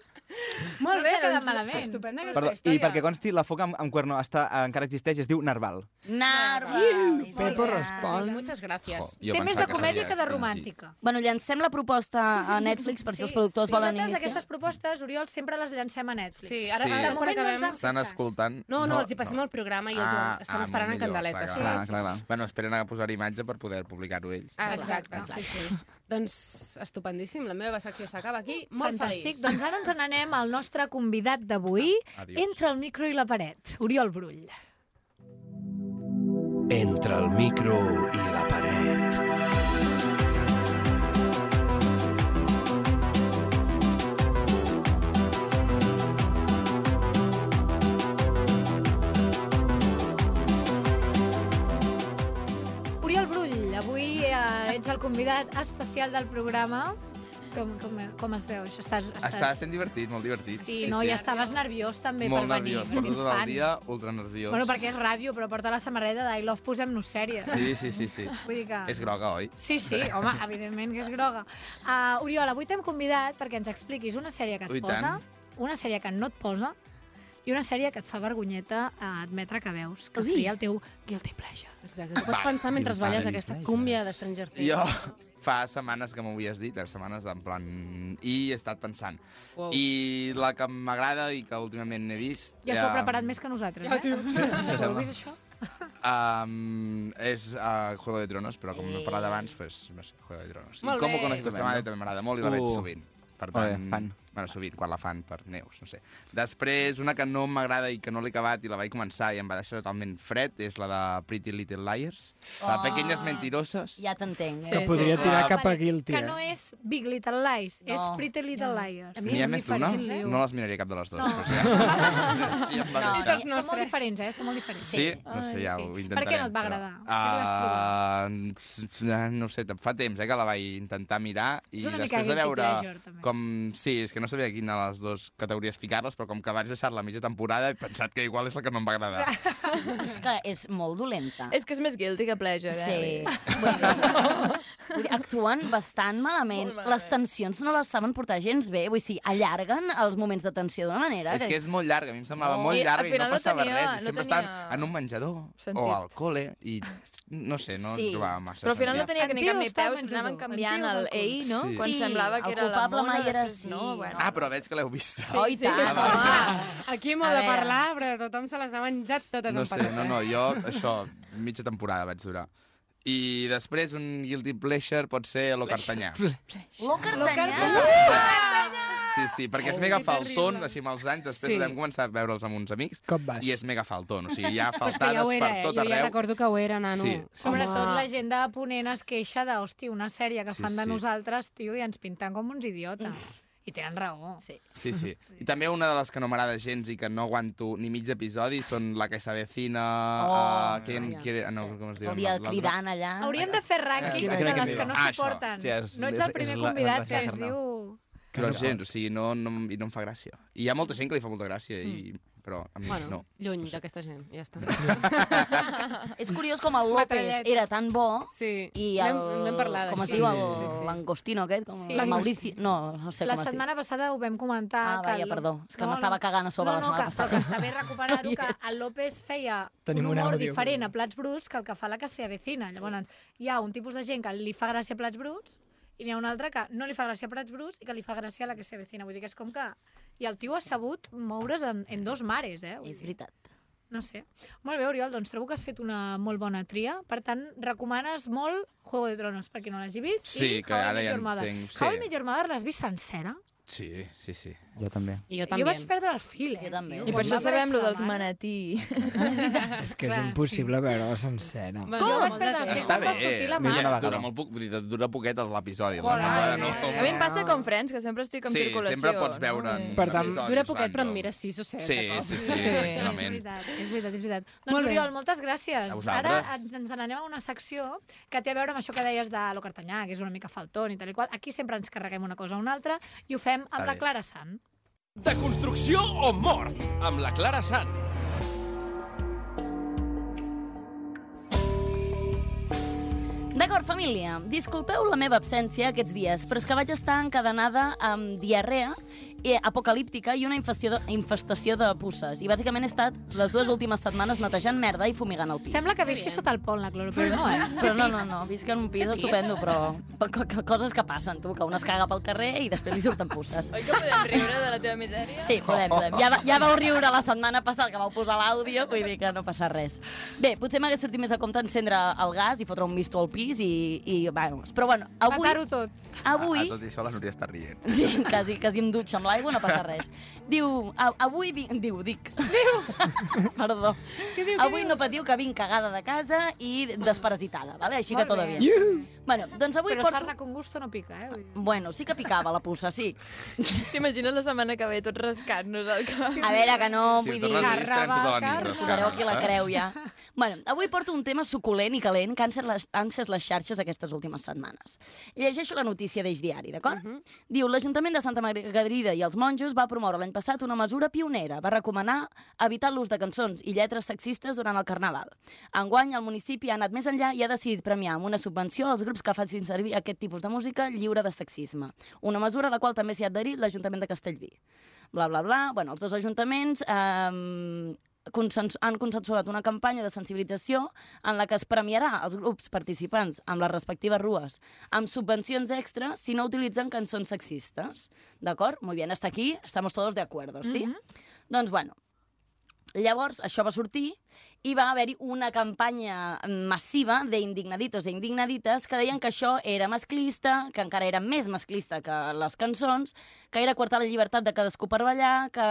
[SPEAKER 7] Molt bé, doncs,
[SPEAKER 2] Estupenda aquesta
[SPEAKER 18] Perdó, I
[SPEAKER 2] història.
[SPEAKER 18] perquè consti, la foca amb, amb cuerno està, encara existeix i es diu Narval.
[SPEAKER 10] Narva.
[SPEAKER 9] Pepo respon.
[SPEAKER 2] Muchas gracias.
[SPEAKER 18] Jo Té més pensava de que comèdia
[SPEAKER 7] que de romàntica.
[SPEAKER 10] Bueno, llancem la proposta a Netflix per si els productors
[SPEAKER 7] sí,
[SPEAKER 10] volen
[SPEAKER 7] Nosaltres
[SPEAKER 10] iniciar.
[SPEAKER 7] aquestes propostes, Oriol, sempre les llancem a Netflix.
[SPEAKER 2] Sí,
[SPEAKER 11] ara- Sí. ara
[SPEAKER 7] de moment no ens han
[SPEAKER 11] Estan escoltant...
[SPEAKER 2] No, no, els hi passem el programa i els
[SPEAKER 11] Ah,
[SPEAKER 2] estan
[SPEAKER 11] ah,
[SPEAKER 2] esperant
[SPEAKER 11] molt
[SPEAKER 2] en
[SPEAKER 11] millor,
[SPEAKER 2] candeletes.
[SPEAKER 11] Clar,
[SPEAKER 2] Sí,
[SPEAKER 11] clar,
[SPEAKER 2] sí,
[SPEAKER 11] clar,
[SPEAKER 2] sí.
[SPEAKER 11] clar. Bueno, esperen a posar imatge per poder publicar-ho ells.
[SPEAKER 2] Ah, exacte,
[SPEAKER 7] Exacte.
[SPEAKER 2] sí, sí. doncs estupendíssim, la meva secció s'acaba aquí. Molt
[SPEAKER 7] Fantàstic.
[SPEAKER 2] feliç.
[SPEAKER 7] Doncs ara ens n'anem al nostre convidat d'avui,
[SPEAKER 18] Ah,
[SPEAKER 19] Adiós.
[SPEAKER 7] entre el micro i la paret, Oriol Brull.
[SPEAKER 5] Entre el micro i la paret.
[SPEAKER 7] Oriol Brull, avui eh, ets el convidat especial del programa. Com, com, com es veu? Això estàs, estàs...
[SPEAKER 11] Està sent divertit, molt divertit.
[SPEAKER 7] Sí, no, ja estaves nerviós també
[SPEAKER 11] Molt
[SPEAKER 7] per venir.
[SPEAKER 11] nerviós, porto tot
[SPEAKER 7] Fan.
[SPEAKER 11] el dia ultra nerviós.
[SPEAKER 7] Bueno, perquè és ràdio, però porta la samarreta de I love posem-nos sèries.
[SPEAKER 11] Sí, sí, sí, sí.
[SPEAKER 7] Vull dir que...
[SPEAKER 11] És groga, oi?
[SPEAKER 7] Sí, sí, home, evidentment que és groga. Uh, Oriol, avui t'hem convidat perquè ens expliquis una sèrie que et
[SPEAKER 11] Ui,
[SPEAKER 7] posa,
[SPEAKER 11] tant.
[SPEAKER 7] una sèrie que no et posa i una sèrie que et fa vergonyeta eh, admetre que veus, que seria el teu guilty pleasure.
[SPEAKER 2] Exacte. Tu pots pensar mentre
[SPEAKER 11] Guilty
[SPEAKER 2] balles
[SPEAKER 11] pleasure.
[SPEAKER 2] aquesta cúmbia de Stranger Things.
[SPEAKER 11] Jo fa setmanes que m'ho havies dit, les setmanes en plan... I he estat pensant.
[SPEAKER 2] Wow.
[SPEAKER 11] I la que m'agrada i que últimament he vist...
[SPEAKER 7] Ja s'ho ha preparat més que nosaltres, eh?
[SPEAKER 11] Sí, sí,
[SPEAKER 7] Heu
[SPEAKER 11] sembla.
[SPEAKER 7] vist això?
[SPEAKER 11] Um, és uh, Juego de Tronos, però com he parlat abans, pues, no sé, Juego de Tronos.
[SPEAKER 2] Molt
[SPEAKER 11] I com
[SPEAKER 2] bé.
[SPEAKER 11] ho conec aquesta
[SPEAKER 18] Estupendo.
[SPEAKER 11] madre també m'agrada molt i la
[SPEAKER 18] Uh.
[SPEAKER 11] veig sovint. Per
[SPEAKER 18] Molt bé,
[SPEAKER 11] tant,
[SPEAKER 18] fan.
[SPEAKER 11] Bueno, sovint, quan la fan per Neus, no sé. Després, una que no m'agrada i que no l'he acabat i la vaig començar i em va deixar totalment fred, és la de Pretty Little Liars.
[SPEAKER 10] Oh.
[SPEAKER 11] La de Pequeñas Mentiroses.
[SPEAKER 10] Ja t'entenc, eh?
[SPEAKER 9] Que podria
[SPEAKER 11] sí.
[SPEAKER 9] tirar
[SPEAKER 11] Ah,
[SPEAKER 9] cap a guilty,
[SPEAKER 7] Que
[SPEAKER 9] eh?
[SPEAKER 7] no és Big Little Lies, és
[SPEAKER 10] No.
[SPEAKER 7] Pretty Little Liars.
[SPEAKER 11] N'hi ha més d'una?
[SPEAKER 9] eh?
[SPEAKER 11] No les miraré cap de les dues.
[SPEAKER 7] eh? No.
[SPEAKER 11] No. Ja. sí, em va
[SPEAKER 7] No,
[SPEAKER 11] deixar.
[SPEAKER 7] són molt diferents, eh? Són molt diferents.
[SPEAKER 11] Sí, no sé, ja
[SPEAKER 7] Ai, sí.
[SPEAKER 11] ho intentarem.
[SPEAKER 7] Per què no et va
[SPEAKER 11] però-
[SPEAKER 7] agradar?
[SPEAKER 11] Ah, s- s- no ho sé, fa temps eh, que la vaig intentar mirar i
[SPEAKER 7] És una mica
[SPEAKER 11] després de
[SPEAKER 7] guilty
[SPEAKER 11] veure...
[SPEAKER 7] pleasure, també.
[SPEAKER 11] com, sí, és que no sabia a quina de les dues categories ficar-les, però com que vaig deixar la mitja temporada he pensat que igual és la que no em va agradar.
[SPEAKER 10] És que és molt dolenta.
[SPEAKER 12] És que és més guilty que pleasure,
[SPEAKER 10] Sí.
[SPEAKER 12] eh?
[SPEAKER 10] Vull dir, actuen bastant malament.
[SPEAKER 12] Molt malament.
[SPEAKER 10] Les tensions no les saben portar gens bé. Vull dir, allarguen els moments de tensió d'una manera.
[SPEAKER 11] és que és molt llarga, a mi em semblava
[SPEAKER 10] Oh.
[SPEAKER 11] molt
[SPEAKER 10] I al
[SPEAKER 11] llarga i,
[SPEAKER 10] final
[SPEAKER 11] no
[SPEAKER 10] no
[SPEAKER 11] passava
[SPEAKER 10] tenia-
[SPEAKER 11] res. I
[SPEAKER 10] no
[SPEAKER 11] sempre
[SPEAKER 10] tenia
[SPEAKER 11] estaven en un menjador
[SPEAKER 10] sentit.
[SPEAKER 11] o al col·le i no sé, no
[SPEAKER 10] Sí.
[SPEAKER 11] sí. trobava massa
[SPEAKER 12] Però al final no
[SPEAKER 11] sentit.
[SPEAKER 12] tenia que ni
[SPEAKER 7] Antiu
[SPEAKER 12] cap ni
[SPEAKER 7] estava
[SPEAKER 12] peus,
[SPEAKER 7] menjador.
[SPEAKER 12] anaven canviant
[SPEAKER 7] Antiu
[SPEAKER 12] el
[SPEAKER 7] balcó.
[SPEAKER 12] ei, no?
[SPEAKER 11] Sí.
[SPEAKER 12] Quan
[SPEAKER 10] Sí,
[SPEAKER 12] semblava
[SPEAKER 10] el
[SPEAKER 12] que era la
[SPEAKER 10] culpable
[SPEAKER 12] mona,
[SPEAKER 10] mai era
[SPEAKER 12] després
[SPEAKER 10] sí.
[SPEAKER 12] no, bueno.
[SPEAKER 11] Ah, però veig que l'heu vist.
[SPEAKER 12] Sí, sí, Ah,
[SPEAKER 10] tant.
[SPEAKER 12] home.
[SPEAKER 2] Aquí molt
[SPEAKER 10] A
[SPEAKER 2] de
[SPEAKER 10] veure.
[SPEAKER 2] parlar, però tothom se les ha menjat totes
[SPEAKER 11] No
[SPEAKER 2] en
[SPEAKER 11] sé,
[SPEAKER 2] patat.
[SPEAKER 11] no, no, jo això, mitja temporada vaig durar. I després un guilty pleasure pot ser lo cartanyà.
[SPEAKER 10] Lo eh? cartanyà.
[SPEAKER 11] Sí, sí, perquè és mega falton, així amb els anys, després
[SPEAKER 2] Sí.
[SPEAKER 11] sí. vam començar a veure'ls amb uns amics,
[SPEAKER 9] Com vas?
[SPEAKER 11] i és mega falton, o sigui, hi ha
[SPEAKER 2] Però és que
[SPEAKER 11] faltades
[SPEAKER 2] ja ho era,
[SPEAKER 11] per
[SPEAKER 2] eh?
[SPEAKER 11] tot
[SPEAKER 2] Jo ja Ah,
[SPEAKER 11] arreu.
[SPEAKER 2] recordo que ho era, nano.
[SPEAKER 11] Sí.
[SPEAKER 7] Sobretot la gent de Ponent es queixa de, hosti, una sèrie que
[SPEAKER 11] Sí,
[SPEAKER 7] fan de
[SPEAKER 11] sí.
[SPEAKER 7] nosaltres, tio, i ens pinten com uns idiotes. I tenen raó. Sí.
[SPEAKER 2] Sí, sí. I també una de les que no m'agrada gens i que no aguanto ni mig episodi són La que se avecina,
[SPEAKER 10] Oh,
[SPEAKER 2] oh, uh, ¿Quién quiere... No, com es diu?
[SPEAKER 10] El dia
[SPEAKER 2] l'altra?
[SPEAKER 10] cridant allà.
[SPEAKER 7] Hauríem de fer
[SPEAKER 11] Eh,
[SPEAKER 7] rànquing
[SPEAKER 2] Quina-
[SPEAKER 7] de
[SPEAKER 2] quina-
[SPEAKER 7] les
[SPEAKER 2] quina-
[SPEAKER 7] que no
[SPEAKER 2] Ah, això.
[SPEAKER 7] suporten.
[SPEAKER 2] Sí, és-
[SPEAKER 7] no ets
[SPEAKER 2] és-
[SPEAKER 7] el primer
[SPEAKER 2] és la-
[SPEAKER 7] convidat
[SPEAKER 2] la-
[SPEAKER 7] que ens
[SPEAKER 2] la-
[SPEAKER 7] diu...
[SPEAKER 2] Però gens, o sigui, no, no, i no em fa gràcia. I hi ha molta gent que li fa molta gràcia, i, però a mi
[SPEAKER 8] Bueno,
[SPEAKER 2] no.
[SPEAKER 8] lluny d'aquesta gent, ja està.
[SPEAKER 10] És curiós com el López
[SPEAKER 8] Metrallet.
[SPEAKER 10] era tan bo
[SPEAKER 8] sí.
[SPEAKER 10] i el...
[SPEAKER 8] N'hem- n'hem parlat,
[SPEAKER 10] Com es
[SPEAKER 8] sí.
[SPEAKER 10] diu el
[SPEAKER 8] Sí, sí, sí.
[SPEAKER 10] l'angostino aquest? Com
[SPEAKER 7] Sí.
[SPEAKER 10] el Maurici... No, no sé
[SPEAKER 7] La
[SPEAKER 10] com es diu.
[SPEAKER 7] setmana passada ho vam comentar.
[SPEAKER 10] Ah,
[SPEAKER 7] que
[SPEAKER 10] vaja,
[SPEAKER 7] el-
[SPEAKER 10] perdó. És que m'estava cagant a sobre
[SPEAKER 7] no,
[SPEAKER 10] la setmana
[SPEAKER 7] no, que, però que està bé recuperar-ho, que el López feia
[SPEAKER 9] Tenim
[SPEAKER 7] un
[SPEAKER 9] un
[SPEAKER 7] humor
[SPEAKER 9] àudio.
[SPEAKER 7] diferent a plats bruts que el que fa la que s'hi avecina. Llavors, hi ha un tipus de gent que li fa gràcia a plats bruts i n'hi ha un altre que no li fa gràcia a plats bruts i que li fa gràcia a la que s'hi avecina. Vull dir que és com que... I el tio ha sabut moure's en, en dos mares, eh? És
[SPEAKER 10] veritat.
[SPEAKER 7] No sé. Molt bé, Oriol, doncs trobo que has fet una molt bona tria. Per tant, recomanes molt Juego de Tronos, per qui no l'hagi vist,
[SPEAKER 2] Sí,
[SPEAKER 7] i
[SPEAKER 2] que
[SPEAKER 7] How I
[SPEAKER 2] ara
[SPEAKER 7] Met
[SPEAKER 2] ja
[SPEAKER 7] Your Mother.
[SPEAKER 2] entenc,
[SPEAKER 7] How
[SPEAKER 2] sí.
[SPEAKER 7] I Met Your Mother l'has vist sencera?
[SPEAKER 2] Sí, sí, sí.
[SPEAKER 11] Jo també.
[SPEAKER 8] I jo
[SPEAKER 7] Jo vaig perdre el fil, eh?
[SPEAKER 10] Jo també.
[SPEAKER 3] I per això sabem lo dels manatí.
[SPEAKER 9] És que és impossible veure-la sencera.
[SPEAKER 3] Com? Jo vaig perdre el fil.
[SPEAKER 2] Està
[SPEAKER 3] em
[SPEAKER 2] bé,
[SPEAKER 3] va sortir la mà.
[SPEAKER 2] eh? dura, molt poc, vull dir, dura poquet l'episodi. la temporada no.
[SPEAKER 12] eh,
[SPEAKER 3] A mi em passa com Friends, que sempre estic en
[SPEAKER 2] Sí,
[SPEAKER 3] circulació.
[SPEAKER 2] sempre pots veure en Per tant, episodis
[SPEAKER 8] Dura poquet, però
[SPEAKER 2] random.
[SPEAKER 8] em mira 6 o 7.
[SPEAKER 2] Sí, sí, sí,
[SPEAKER 7] És
[SPEAKER 2] tranquil·lament.
[SPEAKER 7] veritat, és veritat, és veritat. Doncs
[SPEAKER 8] Molt bé.
[SPEAKER 7] Oriol, moltes
[SPEAKER 2] A
[SPEAKER 7] gràcies. Ara
[SPEAKER 2] vosaltres.
[SPEAKER 7] ens, ens n'anem a una secció que té a veure amb això que deies de lo cartanyà, que és una mica faltón i tal i qual. Aquí sempre ens carreguem una cosa o una altra i ho fem amb
[SPEAKER 16] A
[SPEAKER 7] la
[SPEAKER 16] veure.
[SPEAKER 7] Clara Sant.
[SPEAKER 16] De construcció o mort, amb la Clara Sant.
[SPEAKER 10] D'acord, família. Disculpeu la meva absència aquests dies, però és que vaig estar encadenada amb diarrea eh, apocalíptica i una infestació de, infestació de pusses. I bàsicament he estat les dues últimes setmanes netejant merda i fumigant el pis.
[SPEAKER 7] Sembla que visqui sota el pont, la Clara, però no, eh?
[SPEAKER 10] Però no, no, no, visc en un pis
[SPEAKER 7] Què
[SPEAKER 10] estupendo, però co- co- coses que passen, tu, que un es caga pel carrer i després li surten pusses.
[SPEAKER 3] Oi que podem riure de la teva misèria?
[SPEAKER 10] Sí, podem, podem. Ja, va- ja vau riure la setmana passada que vau posar l'àudio, vull dir que no passa res. Bé, potser m'hagués sortit més a compte encendre el gas i fotre un misto al pis i... i bueno, però bueno, avui...
[SPEAKER 7] Matar-ho tot.
[SPEAKER 10] Ah, Avui...
[SPEAKER 2] A, a Ah, tot i això, la Núria està rient.
[SPEAKER 10] Sí, quasi, quasi em dutxo amb l'aigua, no passa res. Diu, a, avui... Vi... Diu, dic. Diu. Perdó. diu, avui no patiu que vinc cagada de casa i desparasitada, vale? així que
[SPEAKER 7] Molt
[SPEAKER 10] tot
[SPEAKER 7] bé.
[SPEAKER 10] bé. Bueno, doncs avui
[SPEAKER 7] però
[SPEAKER 10] porto...
[SPEAKER 7] sarna con gusto no pica, eh? Vull dir.
[SPEAKER 10] Bueno, sí que picava la pussa, sí.
[SPEAKER 3] T'imagines la setmana que ve tot rascant-nos el cap?
[SPEAKER 10] A veure, que no,
[SPEAKER 3] Sí,
[SPEAKER 10] vull
[SPEAKER 3] ho
[SPEAKER 10] dir...
[SPEAKER 3] tornes a dir, estarem tota la nit
[SPEAKER 10] Carnaval,
[SPEAKER 3] rascant,
[SPEAKER 10] Carnaval, aquí la
[SPEAKER 3] saps?
[SPEAKER 10] creu, ja. Bueno, avui porto un tema suculent i calent que han set les, han set les xarxes aquestes últimes setmanes. Llegeixo la notícia d'Eix Diari, d'acord? Diu, l'Ajuntament de Santa Margarida i els monjos va promoure l'any passat una mesura pionera. Va recomanar evitar l'ús de cançons i lletres sexistes durant el Carnaval. Enguany, el municipi ha anat més enllà i ha decidit premiar amb una subvenció els grups que facin servir aquest tipus de música lliure de sexisme. Una mesura a la qual també s'hi ha adherit l'Ajuntament de Castellví bla, bla, bla. Bueno, els dos ajuntaments eh, consens han consensuat una campanya de sensibilització en la que es premiarà els grups participants amb les respectives rues amb subvencions extra si no utilitzen cançons sexistes. D'acord? Muy bien, hasta aquí estamos todos de acuerdo, ¿sí?
[SPEAKER 7] Mhm.
[SPEAKER 10] Doncs, bueno, Llavors, això va sortir i va haver-hi una campanya massiva d'indignaditos i indignadites que deien que això era masclista, que encara era més masclista que les cançons, que era quartar la llibertat de cadascú per ballar, que,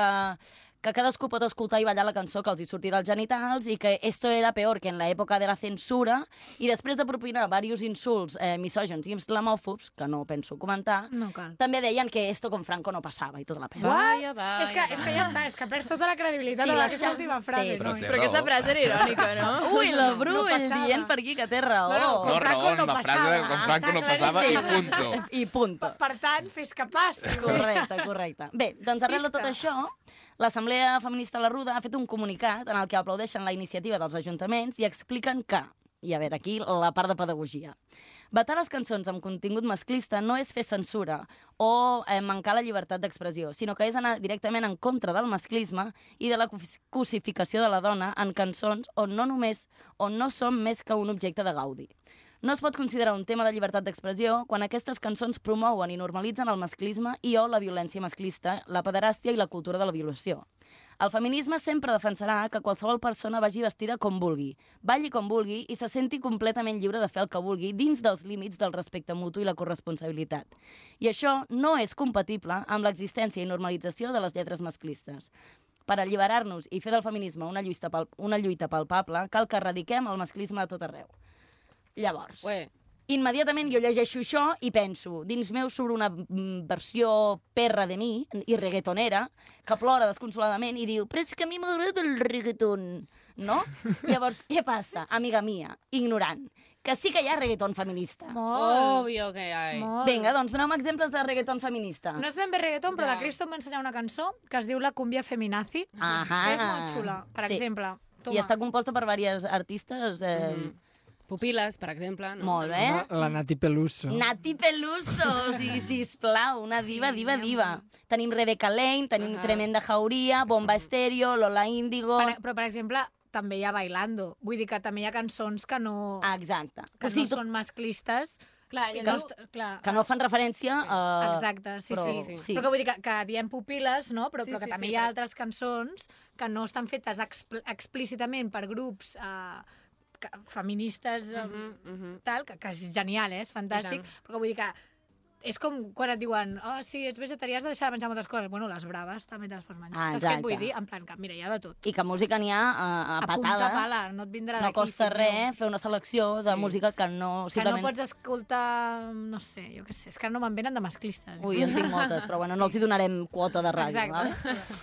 [SPEAKER 10] que cadascú pot escoltar i ballar la cançó que els hi surti dels genitals i que esto era peor que en la època de la censura i després de propinar diversos insults eh, misògens i islamòfobs, que no penso comentar,
[SPEAKER 7] No cal.
[SPEAKER 10] també deien que esto con Franco no passava i tota la pena.
[SPEAKER 7] Vaya, vaya, és, que, és que ja està, és que perds tota la credibilitat
[SPEAKER 10] Sí,
[SPEAKER 7] de
[SPEAKER 10] les
[SPEAKER 7] aquesta
[SPEAKER 10] xarxes-
[SPEAKER 7] última
[SPEAKER 10] sí,
[SPEAKER 7] frase.
[SPEAKER 10] Però
[SPEAKER 7] no?
[SPEAKER 10] té Però aquesta raó. frase era irònica, no? Ui, la Brull dient per aquí que té raó.
[SPEAKER 7] No,
[SPEAKER 2] Ah. No,
[SPEAKER 7] no, con Franco
[SPEAKER 2] raó,
[SPEAKER 7] no,
[SPEAKER 2] la
[SPEAKER 7] passava.
[SPEAKER 2] frase de con Franco no
[SPEAKER 7] Està
[SPEAKER 2] passava i
[SPEAKER 7] claríssim.
[SPEAKER 2] punto.
[SPEAKER 10] I punto.
[SPEAKER 7] Per tant, fes que passi.
[SPEAKER 10] Correcte, correcte. Bé, doncs arrel de tot això, l'Assemblea Feminista de la Ruda ha fet un comunicat en el que aplaudeixen la iniciativa dels ajuntaments i expliquen que, i a veure aquí la part de pedagogia, vetar les cançons amb contingut masclista no és fer censura o eh, mancar la llibertat d'expressió, sinó que és anar directament en contra del masclisme i de la cos- cosificació de la dona en cançons on no només on no som més que un objecte de gaudi. No es pot considerar un tema de llibertat d'expressió quan aquestes cançons promouen i normalitzen el masclisme i o la violència masclista, la pederàstia i la cultura de la violació. El feminisme sempre defensarà que qualsevol persona vagi vestida com vulgui, balli com vulgui i se senti completament lliure de fer el que vulgui dins dels límits del respecte mutu i la corresponsabilitat. I això no és compatible amb l'existència i normalització de les lletres masclistes. Per alliberar-nos i fer del feminisme una lluita, pal una lluita palpable, cal que erradiquem el masclisme a tot arreu. Llavors,
[SPEAKER 8] Ué.
[SPEAKER 10] immediatament jo llegeixo això i penso, dins meu sobre una mm, versió perra de mi i reggaetonera que plora desconsoladament i diu, però és que a mi m'agrada el reggaeton, no? Llavors, què passa, amiga mia, ignorant? Que sí que hi ha reggaeton feminista.
[SPEAKER 7] Molt. Obvio que hi ha. Molt.
[SPEAKER 10] Vinga, doncs doneu-me exemples de reggaeton feminista.
[SPEAKER 7] No és ben bé reggaeton, però la Cristo em va ensenyar una cançó que es diu La cumbia feminazi.
[SPEAKER 10] Ahà.
[SPEAKER 7] És molt xula, per
[SPEAKER 10] Sí.
[SPEAKER 7] exemple. Toma. Mm-hmm.
[SPEAKER 10] I està composta per diverses artistes... Eh, mm.
[SPEAKER 8] Pupiles, per exemple. No?
[SPEAKER 10] Molt bé.
[SPEAKER 9] La, la Nati Peluso.
[SPEAKER 10] Nati Peluso, o sigui, sisplau, una diva, diva, diva. Tenim Rebeca Lane, tenim
[SPEAKER 7] Ahà.
[SPEAKER 10] Tremenda Jauria, Bomba Estéreo, Lola Índigo...
[SPEAKER 7] Per, però, per exemple, també hi ha Bailando. Vull dir que també hi ha cançons que no...
[SPEAKER 10] Exacte.
[SPEAKER 7] Que
[SPEAKER 10] Ah, O sigui,
[SPEAKER 7] no són masclistes. Clar,
[SPEAKER 10] i
[SPEAKER 7] que,
[SPEAKER 10] no-
[SPEAKER 7] no, est- clar,
[SPEAKER 10] Que no fan referència a...
[SPEAKER 7] Exacte, sí,
[SPEAKER 10] Eh, però,
[SPEAKER 7] sí. sí. Però que vull dir que, que diem pupiles, no? Però,
[SPEAKER 10] Sí,
[SPEAKER 7] sí, però que
[SPEAKER 10] sí,
[SPEAKER 7] sí, també
[SPEAKER 10] sí,
[SPEAKER 7] sí, hi ha
[SPEAKER 10] per-
[SPEAKER 7] altres cançons que no estan fetes expl explícitament per grups eh, que, feministes, mm -hmm, tal, que, que és genial, eh? és
[SPEAKER 8] I
[SPEAKER 7] fantàstic,
[SPEAKER 8] tant.
[SPEAKER 7] però que vull dir que és com quan et diuen, oh, sí, ets vegetarià, has de deixar de menjar moltes coses. Bueno, les braves també te les pots menjar.
[SPEAKER 10] Ah,
[SPEAKER 7] Saps què et
[SPEAKER 10] exacte.
[SPEAKER 7] vull dir? En plan, que mira, hi ha de tot.
[SPEAKER 10] I que música n'hi ha a, a patades.
[SPEAKER 7] Apunta pala, no et vindrà
[SPEAKER 10] No
[SPEAKER 7] d'aquí.
[SPEAKER 10] costa
[SPEAKER 7] fill meu.
[SPEAKER 10] res fer una selecció de música que no...
[SPEAKER 7] Que no
[SPEAKER 10] simplement-
[SPEAKER 7] pots escoltar, no sé, jo què sé, és que no me'n venen de masclistes.
[SPEAKER 10] Ui, jo en tinc moltes, però bueno, no els hi donarem quota de ràdio.
[SPEAKER 7] Exacte.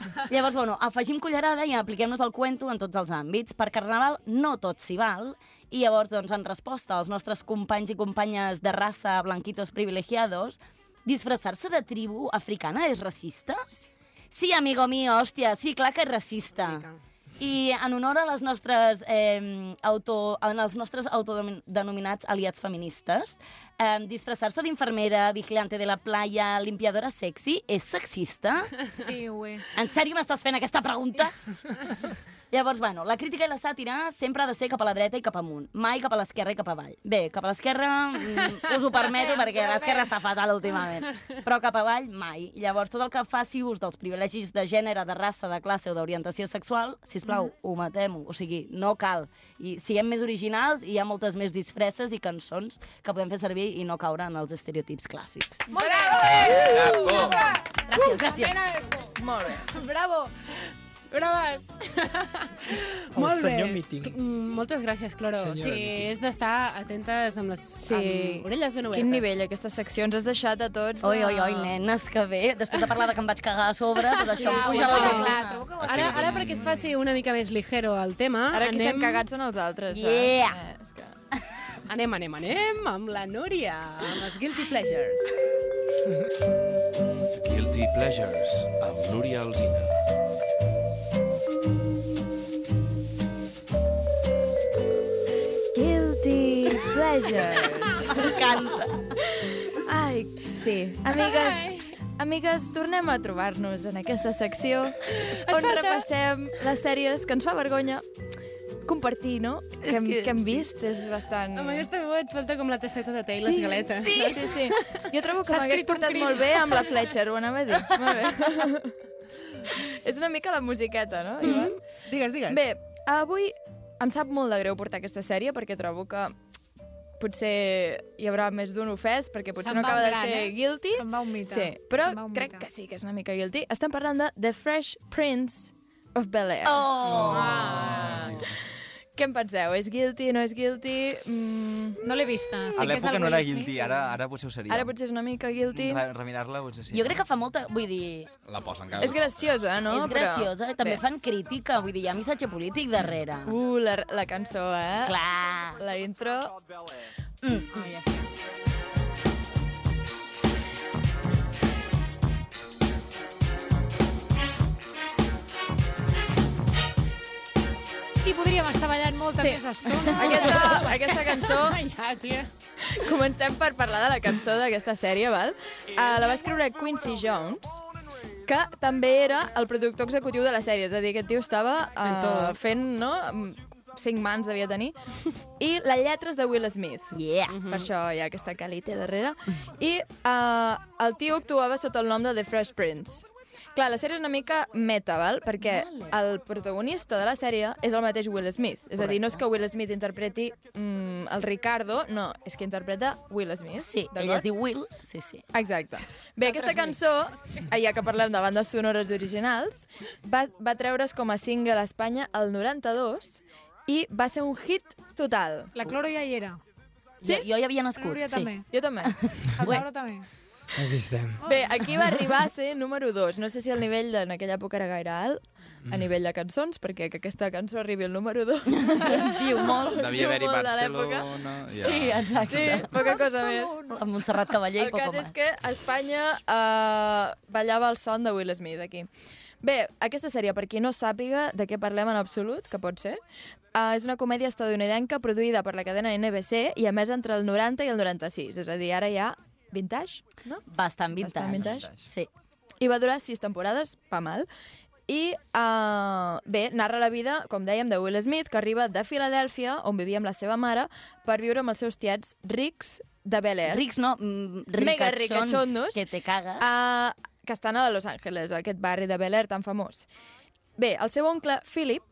[SPEAKER 10] Val? Llavors, bueno, afegim cullerada i apliquem-nos el cuento en tots els àmbits. Per Carnaval no tot s'hi val, i llavors, doncs, en resposta als nostres companys i companyes de raça blanquitos privilegiados, disfressar-se de tribu africana és racista? Sí, amigo mío, hòstia, sí, clar que és racista. I en honor a les nostres, eh, auto, en els nostres autodenominats aliats feministes, eh, disfressar-se d'infermera, vigilante de la playa, limpiadora sexy, és sexista?
[SPEAKER 7] Sí, ho és.
[SPEAKER 10] En sèrio m'estàs fent aquesta pregunta? Llavors, bueno, la crítica i la sàtira sempre ha de ser cap a la dreta i cap amunt, mai cap a l'esquerra i cap avall. Bé, cap a l'esquerra mm, us ho permeto perquè l'esquerra està fatal últimament, però cap avall mai. Llavors, tot el que faci ús dels privilegis de gènere, de raça, de classe o d'orientació sexual, si plau, ho matem, o sigui, no cal. I siguem més originals i hi ha moltes més disfresses i cançons que podem fer servir i no caure en els estereotips clàssics.
[SPEAKER 15] Bravo!
[SPEAKER 10] Bravo! Gràcies, gràcies.
[SPEAKER 15] Molt bé.
[SPEAKER 7] Bravo!
[SPEAKER 15] Braves!
[SPEAKER 9] El
[SPEAKER 8] Molt bé.
[SPEAKER 9] senyor Meeting.
[SPEAKER 8] Mm, Moltes gràcies, Cloro.
[SPEAKER 9] Senyora
[SPEAKER 8] o sigui,
[SPEAKER 9] Meeting.
[SPEAKER 8] és d'estar atentes amb les amb orelles ben obertes.
[SPEAKER 3] Quin nivell, aquestes seccions. Has deixat a tots...
[SPEAKER 8] Oi, oi,
[SPEAKER 10] Oi, nenes, que bé. Després de parlar de que em vaig cagar a sobre, tot això em puja la
[SPEAKER 3] trobo que ho has
[SPEAKER 8] Ara,
[SPEAKER 3] fet
[SPEAKER 8] ara
[SPEAKER 3] bé.
[SPEAKER 8] perquè es faci una mica més ligero el tema...
[SPEAKER 3] Ara qui s'ha
[SPEAKER 8] anem-
[SPEAKER 3] cagat són els altres, saps?
[SPEAKER 8] Yeah!
[SPEAKER 3] Eh, és que...
[SPEAKER 8] Anem, anem, anem amb la Núria, amb els Guilty Pleasures.
[SPEAKER 16] Guilty Pleasures, amb Núria Alzina.
[SPEAKER 12] Guilty Pleasures.
[SPEAKER 10] M'encanta.
[SPEAKER 12] Ai, sí. Amigues, amigues, tornem a trobar-nos en aquesta secció on
[SPEAKER 3] falta-
[SPEAKER 12] repassem les sèries que ens fa vergonya compartir, no? Que hem, que, hem vist, és bastant...
[SPEAKER 8] Amb aquesta veu et falta com la tasteta de té i l'esgaleta.
[SPEAKER 12] Sí, sí, sí. Jo trobo que
[SPEAKER 8] S'ha
[SPEAKER 12] m'hagués
[SPEAKER 8] escrit un
[SPEAKER 12] portat
[SPEAKER 8] crim.
[SPEAKER 12] molt bé amb la Fletcher, ho anava a dir. Molt bé. És una mica la musiqueta, no? Mm -hmm.
[SPEAKER 8] Digues, digues.
[SPEAKER 12] Bé, avui em sap molt de greu portar aquesta sèrie perquè trobo que potser hi haurà més d'un ofès perquè potser no
[SPEAKER 7] Se'n va
[SPEAKER 12] acaba
[SPEAKER 7] un
[SPEAKER 12] de
[SPEAKER 7] gran,
[SPEAKER 12] ser
[SPEAKER 7] eh?
[SPEAKER 12] guilty.
[SPEAKER 7] Se'n va un mite.
[SPEAKER 12] Sí, però
[SPEAKER 7] Se'n va un
[SPEAKER 12] crec
[SPEAKER 7] mite.
[SPEAKER 12] que sí que és una mica guilty. Estem parlant de The Fresh Prince of Bel-Air.
[SPEAKER 10] Oh!
[SPEAKER 12] Què en penseu? És guilty, no és guilty? Mm...
[SPEAKER 7] No l'he vista.
[SPEAKER 11] A l'època no era guilty, ara, ara potser ho seria.
[SPEAKER 12] Ara potser és una mica guilty.
[SPEAKER 11] Re- Remirar-la potser sí.
[SPEAKER 12] Jo crec
[SPEAKER 10] que fa molta... Vull dir...
[SPEAKER 11] La posen
[SPEAKER 12] És graciosa, no?
[SPEAKER 10] és graciosa,
[SPEAKER 12] Però...
[SPEAKER 10] també
[SPEAKER 12] Bé.
[SPEAKER 10] fan crítica, vull dir, hi ha missatge polític darrere.
[SPEAKER 12] Uh, la, la cançó, eh?
[SPEAKER 10] Clar.
[SPEAKER 12] La intro... Mm.
[SPEAKER 7] I podríem estar ballant molta
[SPEAKER 12] Sí.
[SPEAKER 7] sí. més estona.
[SPEAKER 12] Aquesta, aquesta cançó...
[SPEAKER 7] Ja, tia.
[SPEAKER 12] Comencem per parlar de la cançó d'aquesta sèrie, val? Uh, la va escriure Quincy Jones, que també era el productor executiu de la sèrie. És a dir, aquest tio estava
[SPEAKER 8] Fent
[SPEAKER 12] uh,
[SPEAKER 8] tot.
[SPEAKER 12] fent, no? Mm, Cinc mans devia tenir. I la lletra és de Will Smith.
[SPEAKER 10] Yeah. Mhm.
[SPEAKER 12] Per això hi ha aquesta calite darrere. I uh, el tio actuava sota el nom de The Fresh Prince. Clar, la sèrie és una mica meta, val? Perquè el protagonista de la sèrie és el mateix Will Smith. És a dir, no és que Will Smith interpreti mm, el Ricardo, no, és que interpreta Will Smith.
[SPEAKER 10] Sí,
[SPEAKER 12] d'acord? Ah,
[SPEAKER 10] ella es diu Will, sí, sí.
[SPEAKER 12] Exacte. Bé, aquesta cançó, ah, ja que parlem de bandes sonores originals, va, va treure's com a single a Espanya el 92 i va ser un hit total.
[SPEAKER 7] La Cloro ja hi era.
[SPEAKER 10] Jo, jo hi havia nascut,
[SPEAKER 12] Núria
[SPEAKER 10] sí.
[SPEAKER 12] també. Jo també.
[SPEAKER 10] El
[SPEAKER 12] Laura també.
[SPEAKER 9] Aquí estem.
[SPEAKER 12] Bé, aquí va arribar a ser número 2. No sé si el nivell de- en aquella època era gaire alt, a nivell de cançons, perquè que aquesta cançó arribi al número 2.
[SPEAKER 10] Diu molt.
[SPEAKER 2] Devia haver-hi
[SPEAKER 10] molt de l'època.
[SPEAKER 2] Barcelona... Ja.
[SPEAKER 10] Sí, exacte.
[SPEAKER 12] Sí, poca cosa més.
[SPEAKER 10] La Montserrat Cavaller
[SPEAKER 12] El
[SPEAKER 10] i poco
[SPEAKER 12] cas
[SPEAKER 10] més.
[SPEAKER 12] és que a Espanya eh, ballava el son de Will Smith aquí. Bé, aquesta sèrie, per qui no sàpiga de què parlem en absolut, que pot ser, eh, és una comèdia estadounidenca produïda per la cadena NBC i a més entre el 90 i el 96, és a dir, ara hi ha vintage, no?
[SPEAKER 10] Bastant vintage.
[SPEAKER 12] Bastant vintage.
[SPEAKER 10] Sí.
[SPEAKER 12] I va durar sis temporades, pa mal. I, uh, bé, narra la vida, com dèiem, de Will Smith, que arriba de Filadèlfia, on vivia amb la seva mare, per viure amb els seus tiets rics de Bel Air.
[SPEAKER 10] Rics no,
[SPEAKER 12] Eh?
[SPEAKER 10] Mm,
[SPEAKER 12] Mega
[SPEAKER 10] ricachons
[SPEAKER 12] ricachondos.
[SPEAKER 10] que te cagues.
[SPEAKER 12] Uh, que estan a Los Angeles, a aquest barri de Bel Air tan famós. Bé, el seu oncle, Philip,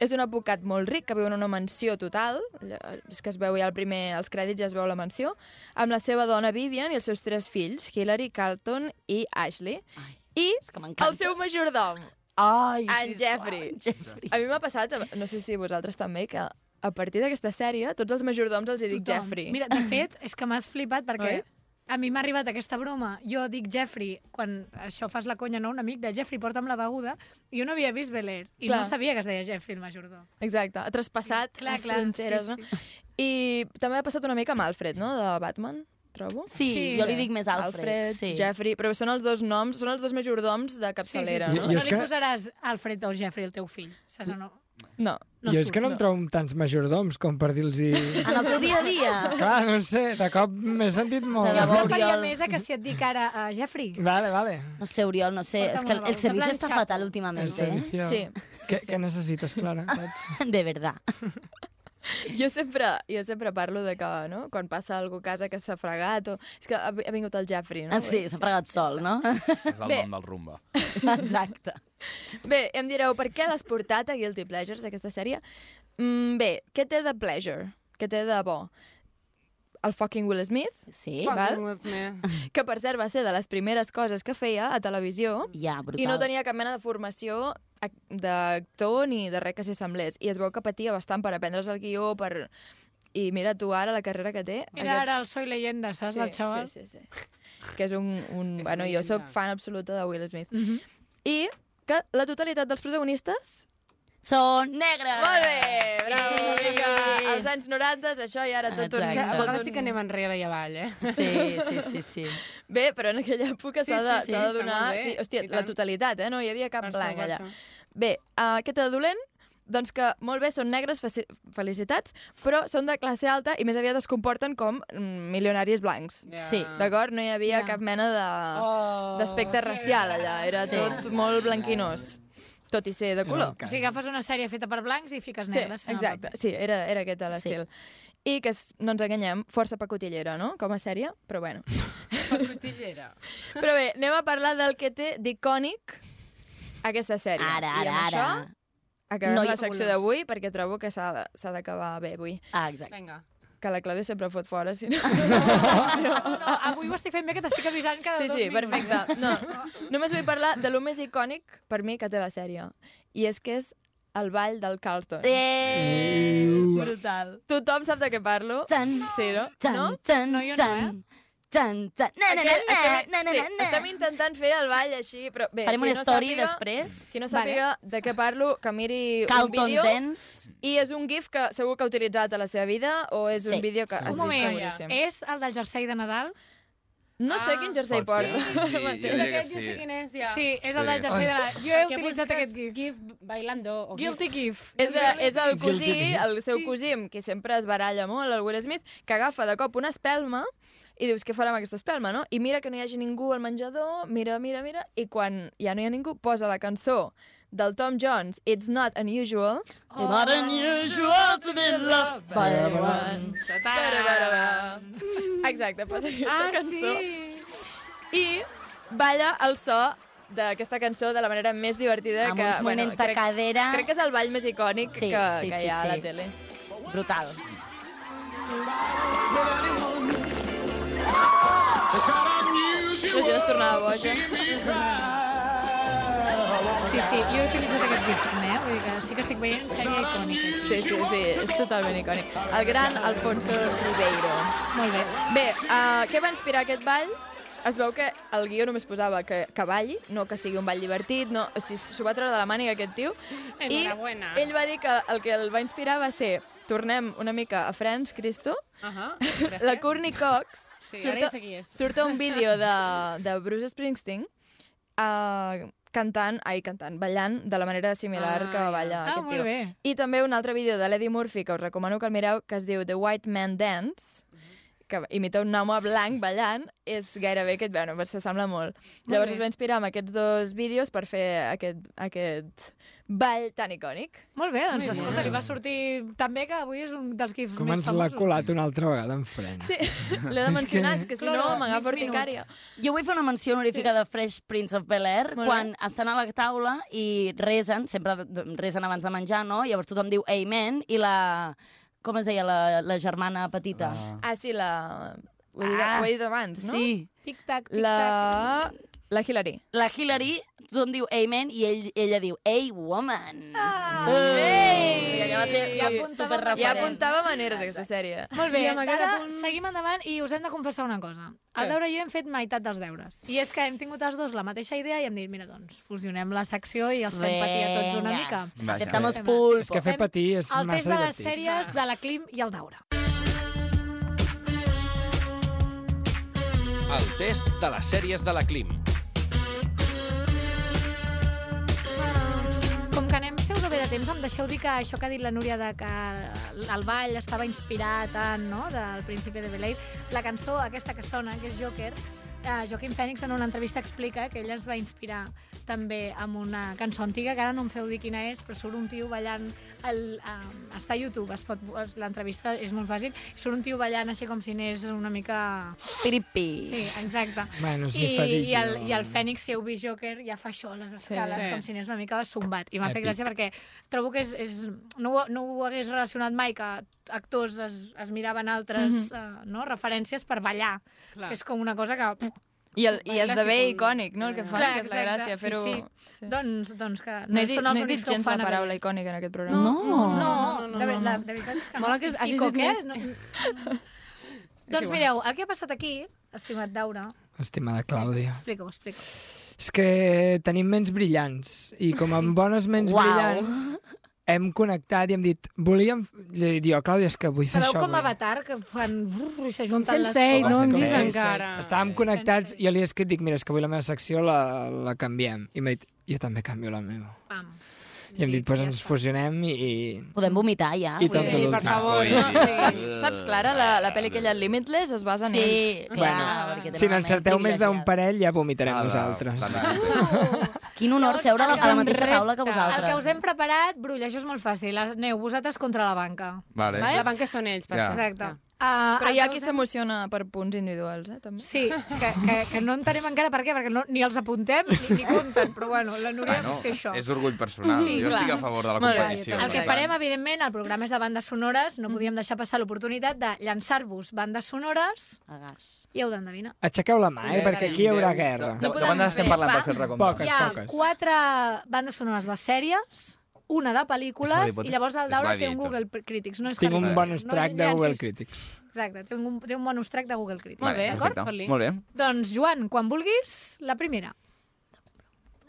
[SPEAKER 12] és un advocat molt ric que viu en una mansió total, allò- és que es veu ja el primer, els crèdits ja es veu la mansió, amb la seva dona Vivian i els seus tres fills, Hillary, Carlton i Ashley. Ai, I el seu majordom,
[SPEAKER 10] Ai,
[SPEAKER 12] en Jeffrey.
[SPEAKER 10] Jeffrey.
[SPEAKER 12] A mi m'ha passat, no sé si vosaltres també, que a partir d'aquesta sèrie, tots els majordoms els hi dic
[SPEAKER 7] Tothom.
[SPEAKER 12] Jeffrey.
[SPEAKER 7] Mira, de fet, és que m'has flipat perquè
[SPEAKER 12] Oi?
[SPEAKER 7] a mi m'ha arribat aquesta broma. Jo dic Jeffrey, quan això fas la conya, no? Un amic de Jeffrey, porta'm la beguda. I jo no havia vist Bel Air. I
[SPEAKER 12] Clar.
[SPEAKER 7] no sabia que es deia Jeffrey, el majordom.
[SPEAKER 12] Exacte, ha traspassat
[SPEAKER 7] Clar,
[SPEAKER 12] les
[SPEAKER 7] clar,
[SPEAKER 12] fronteres,
[SPEAKER 7] sí,
[SPEAKER 12] no? I també ha passat una mica amb Alfred, no?, de Batman, trobo.
[SPEAKER 10] Sí, Sí. jo li dic més Alfred,
[SPEAKER 12] eh, Alfred,
[SPEAKER 10] sí.
[SPEAKER 12] Jeffrey, però són els dos noms, són els dos majordoms de capçalera.
[SPEAKER 9] sí. Jo- jo
[SPEAKER 7] no
[SPEAKER 9] és
[SPEAKER 7] li
[SPEAKER 9] que-
[SPEAKER 7] posaràs Alfred o Jeffrey al teu fill, saps o no?
[SPEAKER 12] No.
[SPEAKER 9] No jo és que no em trobo amb tants majordoms com per dir-los...
[SPEAKER 7] En el teu dia a dia.
[SPEAKER 9] Clar, no ho sé, de cop m'he sentit molt...
[SPEAKER 7] Jo faria més a que si et dic ara
[SPEAKER 12] eh,
[SPEAKER 7] uh, Jeffrey.
[SPEAKER 9] Vale, vale.
[SPEAKER 10] No sé, Oriol, no sé.
[SPEAKER 7] Porta'm
[SPEAKER 10] És que
[SPEAKER 7] una
[SPEAKER 10] el
[SPEAKER 7] beguda.
[SPEAKER 10] servicio està
[SPEAKER 7] Planxato.
[SPEAKER 10] fatal últimament,
[SPEAKER 9] El servicio.
[SPEAKER 10] eh?
[SPEAKER 9] Sí. Què, què necessites, Clara?
[SPEAKER 10] De verdad.
[SPEAKER 12] Jo sempre, jo sempre parlo de que, no?, quan passa algú a casa que s'ha fregat o... És que ha, ha vingut el Jeffrey, no?
[SPEAKER 10] Ah, sí, s'ha fregat sol, no?
[SPEAKER 2] És el
[SPEAKER 12] Bé.
[SPEAKER 2] nom del rumba.
[SPEAKER 10] Exacte.
[SPEAKER 12] Bé, em direu, per què l'has portat a Guilty Pleasures, aquesta sèrie? Mm, bé, què té de pleasure? Què té de bo? El fucking Will Smith.
[SPEAKER 10] Sí.
[SPEAKER 12] Val?
[SPEAKER 8] Will Smith.
[SPEAKER 12] Que, per cert, va ser de les primeres coses que feia a televisió.
[SPEAKER 10] Ja, brutal.
[SPEAKER 12] I no tenia cap mena de formació ac- d'actor ni de res que s'hi semblés. I es veu que patia bastant per aprendre's el guió, per... I mira tu ara la carrera que té.
[SPEAKER 7] Era ara el Soy Leyenda, saps,
[SPEAKER 12] Sí,
[SPEAKER 7] el xaval?
[SPEAKER 12] sí, sí, que és un... un bueno, jo sóc fan absoluta de Will Smith.
[SPEAKER 7] Mhm.
[SPEAKER 12] I que la totalitat dels protagonistes...
[SPEAKER 10] Són negres!
[SPEAKER 12] Molt bé! Eh, Bravo, vinga! Als anys 90, això i ara tot un...
[SPEAKER 8] És que a
[SPEAKER 12] Tot
[SPEAKER 8] vegades
[SPEAKER 12] un...
[SPEAKER 8] sí que anem enrere i avall, eh?
[SPEAKER 10] Sí, sí, sí, sí.
[SPEAKER 12] Bé, però en aquella època
[SPEAKER 8] Sí,
[SPEAKER 12] s'ha de,
[SPEAKER 8] sí, sí,
[SPEAKER 12] s'ha de
[SPEAKER 8] està
[SPEAKER 12] donar...
[SPEAKER 8] molt bé,
[SPEAKER 12] Sí, hòstia,
[SPEAKER 8] i
[SPEAKER 12] la
[SPEAKER 8] tant.
[SPEAKER 12] totalitat, eh? No hi havia cap
[SPEAKER 8] Per això,
[SPEAKER 12] blanc
[SPEAKER 8] per
[SPEAKER 12] allà.
[SPEAKER 8] això.
[SPEAKER 12] Bé, uh, aquest de dolent, doncs que molt bé, són negres, faci- felicitats, però són de classe alta i més aviat es comporten com mm, milionaris blancs.
[SPEAKER 10] Sí.
[SPEAKER 12] D'acord? No hi havia cap mena de-
[SPEAKER 9] Oh,
[SPEAKER 12] d'aspecte racial allà. Era
[SPEAKER 10] Sí.
[SPEAKER 12] tot molt blanquinós, tot i ser de color.
[SPEAKER 7] O sigui, agafes una sèrie feta per blancs i fiques negres.
[SPEAKER 12] Sí, exacte. Sí, era, era aquest l'estil. Sí. I que, es- no ens enganyem, força pacotillera, no?, com a sèrie, però bueno.
[SPEAKER 15] Pacotillera.
[SPEAKER 12] Però bé, anem a parlar del que té d'icònic aquesta sèrie.
[SPEAKER 10] Ara,
[SPEAKER 12] I amb
[SPEAKER 10] ara,
[SPEAKER 12] això,
[SPEAKER 10] ara.
[SPEAKER 12] acabem
[SPEAKER 10] No hi
[SPEAKER 12] la
[SPEAKER 10] ha
[SPEAKER 12] secció
[SPEAKER 10] volums.
[SPEAKER 12] d'avui, perquè trobo que s'ha de- s'ha d'acabar bé avui.
[SPEAKER 10] Ah, exacte.
[SPEAKER 7] Vinga.
[SPEAKER 12] Que la Clàudia sempre fot fora, si no...
[SPEAKER 7] Ah, No, no, avui ho estic fent bé, que t'estic avisant cada
[SPEAKER 12] Sí,
[SPEAKER 7] dos
[SPEAKER 12] sí,
[SPEAKER 7] minuts.
[SPEAKER 12] perfecte. No, només vull parlar de lo més icònic per mi que té la sèrie. I és que és el ball del Carlton.
[SPEAKER 10] Eh, brutal.
[SPEAKER 12] Tothom sap de què parlo. Tan, sí, no?
[SPEAKER 10] Tan,
[SPEAKER 12] no?
[SPEAKER 10] tan, no, tan, tan, tan. Na, na, na,
[SPEAKER 12] Aquest- estem,
[SPEAKER 10] na, na,
[SPEAKER 12] sí,
[SPEAKER 10] na, na.
[SPEAKER 12] estem intentant fer el ball així, però bé...
[SPEAKER 10] Farem
[SPEAKER 12] qui
[SPEAKER 10] una
[SPEAKER 12] no
[SPEAKER 10] story
[SPEAKER 12] sàpiga,
[SPEAKER 10] després.
[SPEAKER 12] Qui no
[SPEAKER 10] Vale.
[SPEAKER 12] sàpiga de què parlo, que miri
[SPEAKER 10] Carlton
[SPEAKER 12] un vídeo...
[SPEAKER 10] Dance.
[SPEAKER 12] I és un gif que segur que ha utilitzat a la seva vida o és un vídeo que has vist
[SPEAKER 7] Un moment,
[SPEAKER 12] seguríssim.
[SPEAKER 7] és el del jersei de Nadal?
[SPEAKER 12] No sé quin jersei
[SPEAKER 7] pot ser.
[SPEAKER 12] porta.
[SPEAKER 7] Sí, ah. sí,
[SPEAKER 12] Bueno,
[SPEAKER 7] jo
[SPEAKER 12] és
[SPEAKER 7] diria
[SPEAKER 12] aquest
[SPEAKER 7] que
[SPEAKER 12] jersei
[SPEAKER 7] sí.
[SPEAKER 12] que-
[SPEAKER 8] Quin és, ja?
[SPEAKER 7] Sí, és el del
[SPEAKER 8] Perquè
[SPEAKER 7] jersei de Nadal. Jo he
[SPEAKER 8] busques
[SPEAKER 7] utilitzat aquest GIF.
[SPEAKER 8] GIF bailando. O
[SPEAKER 7] Guilty GIF.
[SPEAKER 12] És, a, és el cosí,
[SPEAKER 8] Guilty.
[SPEAKER 12] el seu cosí, amb qui sempre es baralla molt, el Will Smith, que agafa de cop una espelma i dius, què farà amb aquesta espelma, no? I mira que no hi hagi ningú al menjador, mira, mira, mira, i quan ja no hi ha ningú, posa la cançó del Tom Jones, It's Not Unusual.
[SPEAKER 10] It's not unusual to be loved by anyone.
[SPEAKER 12] Exacte, posa aquesta
[SPEAKER 15] Ah,
[SPEAKER 12] cançó.
[SPEAKER 15] sí.
[SPEAKER 12] I balla el so d'aquesta cançó de la manera més divertida
[SPEAKER 10] Amb
[SPEAKER 12] que...
[SPEAKER 10] uns moviments Ah, de cadera.
[SPEAKER 12] Crec que és el ball més icònic
[SPEAKER 10] Sí,
[SPEAKER 12] que,
[SPEAKER 10] sí,
[SPEAKER 12] que
[SPEAKER 10] sí,
[SPEAKER 12] hi ha a
[SPEAKER 10] sí.
[SPEAKER 12] la tele.
[SPEAKER 10] Brutal.
[SPEAKER 12] La gent es tornava boja.
[SPEAKER 7] Sí, sí, jo he utilitzat aquest gif també, eh? Vull dir que sí que estic veient sèrie icònica.
[SPEAKER 12] Sí, sí, sí, és totalment icònic. El gran Alfonso Ribeiro.
[SPEAKER 7] Molt bé.
[SPEAKER 12] Bé, uh, què va inspirar aquest ball? Es veu que el guió només posava que, que balli, no que sigui un ball divertit, no, o sigui, s'ho va treure de la màniga aquest tio. I
[SPEAKER 15] Enhorabuena.
[SPEAKER 12] ell va dir que el que el va inspirar va ser, tornem una mica a Franz Cristo,
[SPEAKER 15] Ahà,
[SPEAKER 12] la Courtney Cox
[SPEAKER 15] Sí,
[SPEAKER 12] surt,
[SPEAKER 15] ara ja
[SPEAKER 12] a,
[SPEAKER 15] sé qui és.
[SPEAKER 12] surt a un vídeo de, de Bruce Springsteen uh, cantant, ai, cantant, ballant de la manera similar
[SPEAKER 15] Ah,
[SPEAKER 12] que
[SPEAKER 15] ja. Ah,
[SPEAKER 12] balla aquest
[SPEAKER 15] molt
[SPEAKER 12] tio.
[SPEAKER 15] bé.
[SPEAKER 12] I també un altre vídeo de l'Eddie Murphy, que us recomano que el mireu, que es diu The White Man Dance,
[SPEAKER 7] Mhm.
[SPEAKER 12] que imita un home blanc ballant, és gairebé aquest, bueno, s'assembla molt.
[SPEAKER 15] Molt
[SPEAKER 12] Llavors
[SPEAKER 15] bé.
[SPEAKER 12] es va inspirar amb aquests dos vídeos per fer aquest, aquest ball tan icònic.
[SPEAKER 7] Molt bé, doncs
[SPEAKER 12] Molt bé.
[SPEAKER 7] escolta, li va sortir tan bé que avui és un dels gifs
[SPEAKER 9] Com
[SPEAKER 7] més
[SPEAKER 9] ens l'ha
[SPEAKER 7] famosos.
[SPEAKER 9] colat una altra vegada en French.
[SPEAKER 12] Sí, l'he de
[SPEAKER 9] És
[SPEAKER 12] mencionar, és que si no
[SPEAKER 10] Clara,
[SPEAKER 12] m'agafa
[SPEAKER 10] mig minut.
[SPEAKER 12] urticària.
[SPEAKER 10] Jo vull fer una menció honorífica sí. de Fresh Prince of Bel-Air
[SPEAKER 12] Molt bé.
[SPEAKER 10] quan estan a la taula i resen, sempre d- resen abans de menjar, no? Llavors tothom diu Amen i la... com es deia la, la germana petita?
[SPEAKER 12] Ah, sí, la... Ho he dit,
[SPEAKER 10] Ah,
[SPEAKER 12] ho he dit abans, no?
[SPEAKER 10] sí.
[SPEAKER 7] Tic-tac,
[SPEAKER 12] La... La Hillary.
[SPEAKER 10] La Hillary, tothom diu Amen i ell, ella diu Hey, woman! Ah, I allà va ser
[SPEAKER 12] Ja
[SPEAKER 10] com
[SPEAKER 12] apuntava-
[SPEAKER 10] superreferent.
[SPEAKER 12] ja apuntava maneres, aquesta sèrie.
[SPEAKER 7] Molt bé,
[SPEAKER 12] I amb aquest
[SPEAKER 7] ara seguim endavant i us hem de confessar una cosa.
[SPEAKER 12] Què?
[SPEAKER 7] El Daura i jo hem fet meitat dels deures. I és que hem tingut els dos la mateixa idea i hem dit, mira, doncs, fusionem la secció i els fem patir a tots una
[SPEAKER 10] Vinga.
[SPEAKER 7] mica.
[SPEAKER 9] Vaja.
[SPEAKER 10] Aceptamos
[SPEAKER 7] Fem-
[SPEAKER 10] pulpo.
[SPEAKER 9] És que fer patir és
[SPEAKER 7] el test
[SPEAKER 9] massa
[SPEAKER 7] de les
[SPEAKER 9] divertit.
[SPEAKER 7] sèries de la Clim i el Daura.
[SPEAKER 16] El test de les sèries de la Clim.
[SPEAKER 7] Com que anem seus o bé de temps, em deixeu dir que això que ha dit la Núria de que el ball estava inspirat en, no?, del Príncipe de Bel-Air, la cançó aquesta que sona, que és Joker, eh, Joaquim Fènix en una entrevista explica que ell es va inspirar també amb una cançó antiga, que ara no em feu dir quina és, però surt un tio ballant... El, eh, està a YouTube, es pot- es- l'entrevista és molt fàcil, surt un tio ballant així com si anés una mica...
[SPEAKER 10] Piripi.
[SPEAKER 7] Sí, exacte.
[SPEAKER 9] Bueno, sí,
[SPEAKER 7] I,
[SPEAKER 9] Fadillo.
[SPEAKER 7] i, el, I el Fènix, si heu vist Joker, ja fa això a les escales,
[SPEAKER 15] Sí.
[SPEAKER 7] sí. com si n'és una mica sombat. I m'ha fet
[SPEAKER 15] Èpic.
[SPEAKER 7] gràcia perquè trobo que és, és, no, ho, no ho hagués relacionat mai, que actors es, es miraven altres mm -hmm. uh, no? referències per ballar, Clar.
[SPEAKER 12] Clar.
[SPEAKER 7] que és com una cosa que... Pff,
[SPEAKER 12] I, el, i
[SPEAKER 7] Baila
[SPEAKER 12] esdevé
[SPEAKER 7] si vulguis.
[SPEAKER 12] icònic, no? El que fan,
[SPEAKER 7] Clar,
[SPEAKER 12] que és la
[SPEAKER 7] exacte.
[SPEAKER 12] gràcia, fer-ho...
[SPEAKER 7] Sí, sí. Doncs, doncs que no,
[SPEAKER 12] No he dit,
[SPEAKER 7] són els
[SPEAKER 12] no he dit
[SPEAKER 7] únics que ho
[SPEAKER 12] gens la
[SPEAKER 7] fan. a
[SPEAKER 12] paraula
[SPEAKER 7] Bel-Air.
[SPEAKER 12] icònic en aquest programa.
[SPEAKER 7] No, no, no,
[SPEAKER 12] no, no,
[SPEAKER 7] de, ve-
[SPEAKER 12] no.
[SPEAKER 7] la, de veritat és que no.
[SPEAKER 15] Mola que
[SPEAKER 7] I
[SPEAKER 15] hagis dit
[SPEAKER 7] Coquet,
[SPEAKER 15] més.
[SPEAKER 7] no-
[SPEAKER 15] És
[SPEAKER 7] doncs
[SPEAKER 15] igual.
[SPEAKER 7] mireu, el que ha passat aquí, estimat Daura,
[SPEAKER 9] Estimada Clàudia.
[SPEAKER 7] explica-ho, explica
[SPEAKER 9] És que tenim ments brillants i com amb bones ments
[SPEAKER 7] Uau.
[SPEAKER 9] brillants hem connectat i hem dit, volíem... Li he dit jo, Clàudia, és que vull fer
[SPEAKER 7] Sabeu
[SPEAKER 9] això
[SPEAKER 7] com
[SPEAKER 9] avui.
[SPEAKER 7] avatar, que fan... brrr, i s'ajunten les
[SPEAKER 15] Sensei,
[SPEAKER 7] coses.
[SPEAKER 15] no hem vist
[SPEAKER 9] Sensei.
[SPEAKER 15] encara.
[SPEAKER 9] Estàvem connectats, jo li he escrit, dic, mira, és que avui la meva secció la, la canviem. I m'ha dit, jo també canvio la meva.
[SPEAKER 7] Pam.
[SPEAKER 9] I hem dit, doncs ens fusionem i... i...
[SPEAKER 10] Podem vomitar ja.
[SPEAKER 9] I tant que l'últim.
[SPEAKER 12] No, saps, saps, Clara, la, la pel·li aquella Limitless es basa en
[SPEAKER 10] Sí,
[SPEAKER 12] ells.
[SPEAKER 10] clar, Bueno, perquè
[SPEAKER 9] Si n'encerteu més d'un parell, ja vomitarem nosaltres.
[SPEAKER 10] Quin
[SPEAKER 7] Doncs
[SPEAKER 10] honor seure a la, a la mateixa taula que
[SPEAKER 7] El que
[SPEAKER 10] vosaltres.
[SPEAKER 7] us hem preparat, Brull, això és molt fàcil. Aneu vosaltres contra la banca.
[SPEAKER 2] Vale.
[SPEAKER 7] Vale?
[SPEAKER 2] La
[SPEAKER 7] banca són ells,
[SPEAKER 2] per Ja. cert.
[SPEAKER 7] Exacte. Uh,
[SPEAKER 12] Però hi ha qui s'emociona per punts individuals, eh, també.
[SPEAKER 7] Sí, que, que, que no entenem encara per què, perquè no, ni els apuntem ni, ni compten, però bueno, la Núria
[SPEAKER 2] Bueno,
[SPEAKER 7] ens té això.
[SPEAKER 2] és eh? orgull personal.
[SPEAKER 7] Sí,
[SPEAKER 2] jo
[SPEAKER 7] clar.
[SPEAKER 2] estic a favor de la
[SPEAKER 7] Molt bé.
[SPEAKER 2] competició.
[SPEAKER 7] El que
[SPEAKER 2] per
[SPEAKER 7] farem,
[SPEAKER 2] tant.
[SPEAKER 7] evidentment, el programa és de bandes sonores, no podíem deixar passar l'oportunitat de llançar-vos bandes sonores i heu d'endevinar.
[SPEAKER 9] Aixequeu la mà, eh,
[SPEAKER 11] Sí,
[SPEAKER 9] perquè
[SPEAKER 11] sí.
[SPEAKER 9] aquí hi haurà
[SPEAKER 11] Deu-
[SPEAKER 9] guerra.
[SPEAKER 11] de- de podem bandes estem fer, parlant per va? fer el recompte?
[SPEAKER 9] Poques,
[SPEAKER 7] Hi ha
[SPEAKER 9] poques.
[SPEAKER 7] quatre bandes sonores de sèries, una de
[SPEAKER 9] És Harry
[SPEAKER 7] pel·lícules,
[SPEAKER 9] Potter.
[SPEAKER 7] i llavors
[SPEAKER 9] És
[SPEAKER 7] el Daura
[SPEAKER 9] Harry
[SPEAKER 7] té un
[SPEAKER 9] Potter.
[SPEAKER 7] Google P- Critics. No és
[SPEAKER 9] Tinc
[SPEAKER 7] Harry
[SPEAKER 9] un
[SPEAKER 7] Potter.
[SPEAKER 9] bonus
[SPEAKER 7] No
[SPEAKER 9] track de
[SPEAKER 7] llancis.
[SPEAKER 9] Google Critics.
[SPEAKER 7] Exacte, té un, té un bonus track de Google Critics.
[SPEAKER 11] Molt bé,
[SPEAKER 7] d'acord?
[SPEAKER 11] perfecte. Molt bé.
[SPEAKER 7] Doncs, Joan, quan vulguis, la primera.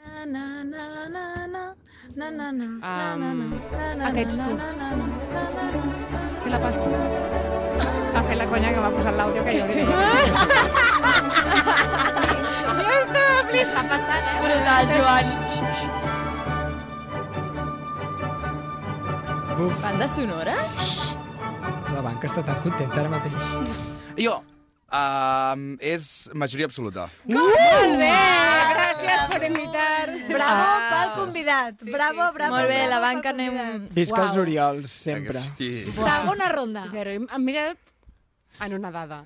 [SPEAKER 15] Ah,
[SPEAKER 7] Aquest ets tu.
[SPEAKER 15] Te la passo. Ha fet la conya que m'ha posat l'àudio que jo sí.
[SPEAKER 7] Jo estava flip. Està passant, eh?
[SPEAKER 15] Brutal, Joan.
[SPEAKER 9] Buf,
[SPEAKER 12] Banda sonora?
[SPEAKER 9] la banca està tan contenta ara mateix.
[SPEAKER 2] Jo, um, és majoria absoluta.
[SPEAKER 7] Molt bé, gràcies per invitar. Bravo pel convidat. Bravo, bravo.
[SPEAKER 12] Molt bé,
[SPEAKER 7] bravo
[SPEAKER 12] la
[SPEAKER 7] pel
[SPEAKER 12] banca anem...
[SPEAKER 9] Visca els Oriols, sempre.
[SPEAKER 2] Sí.
[SPEAKER 7] Segona ronda.
[SPEAKER 15] Zero. I Em mira en una dada.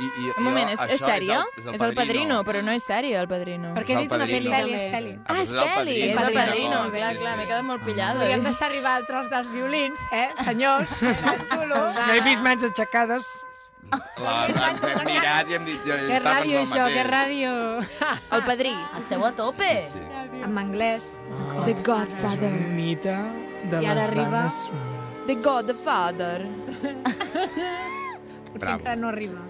[SPEAKER 2] I, i,
[SPEAKER 12] Un moment, és, és sèria?
[SPEAKER 2] És el,
[SPEAKER 12] És el Padrino, però no és sèria, el Padrino.
[SPEAKER 2] Perquè he És el dit una Padrino. pel·li, també.
[SPEAKER 12] Ah, és pel·li, és el Padrino. Clar, clar, m'he quedat molt pillada.
[SPEAKER 7] Podríem deixar arribar el tros dels violins, eh, senyors? Tan xulo.
[SPEAKER 9] No he vist mans aixecades.
[SPEAKER 2] La, ens hem mirat i hem dit... Jo,
[SPEAKER 7] Que
[SPEAKER 2] estava
[SPEAKER 7] ràdio,
[SPEAKER 2] pensant el
[SPEAKER 7] això,
[SPEAKER 2] mateix.
[SPEAKER 7] que ràdio.
[SPEAKER 12] El padrí.
[SPEAKER 10] Esteu a tope.
[SPEAKER 2] Sí,
[SPEAKER 7] sí. En anglès.
[SPEAKER 12] The Godfather.
[SPEAKER 9] És un mite de
[SPEAKER 12] I ara
[SPEAKER 9] les
[SPEAKER 12] arriba-
[SPEAKER 9] bandes...
[SPEAKER 12] The Godfather.
[SPEAKER 7] Potser encara no arriba.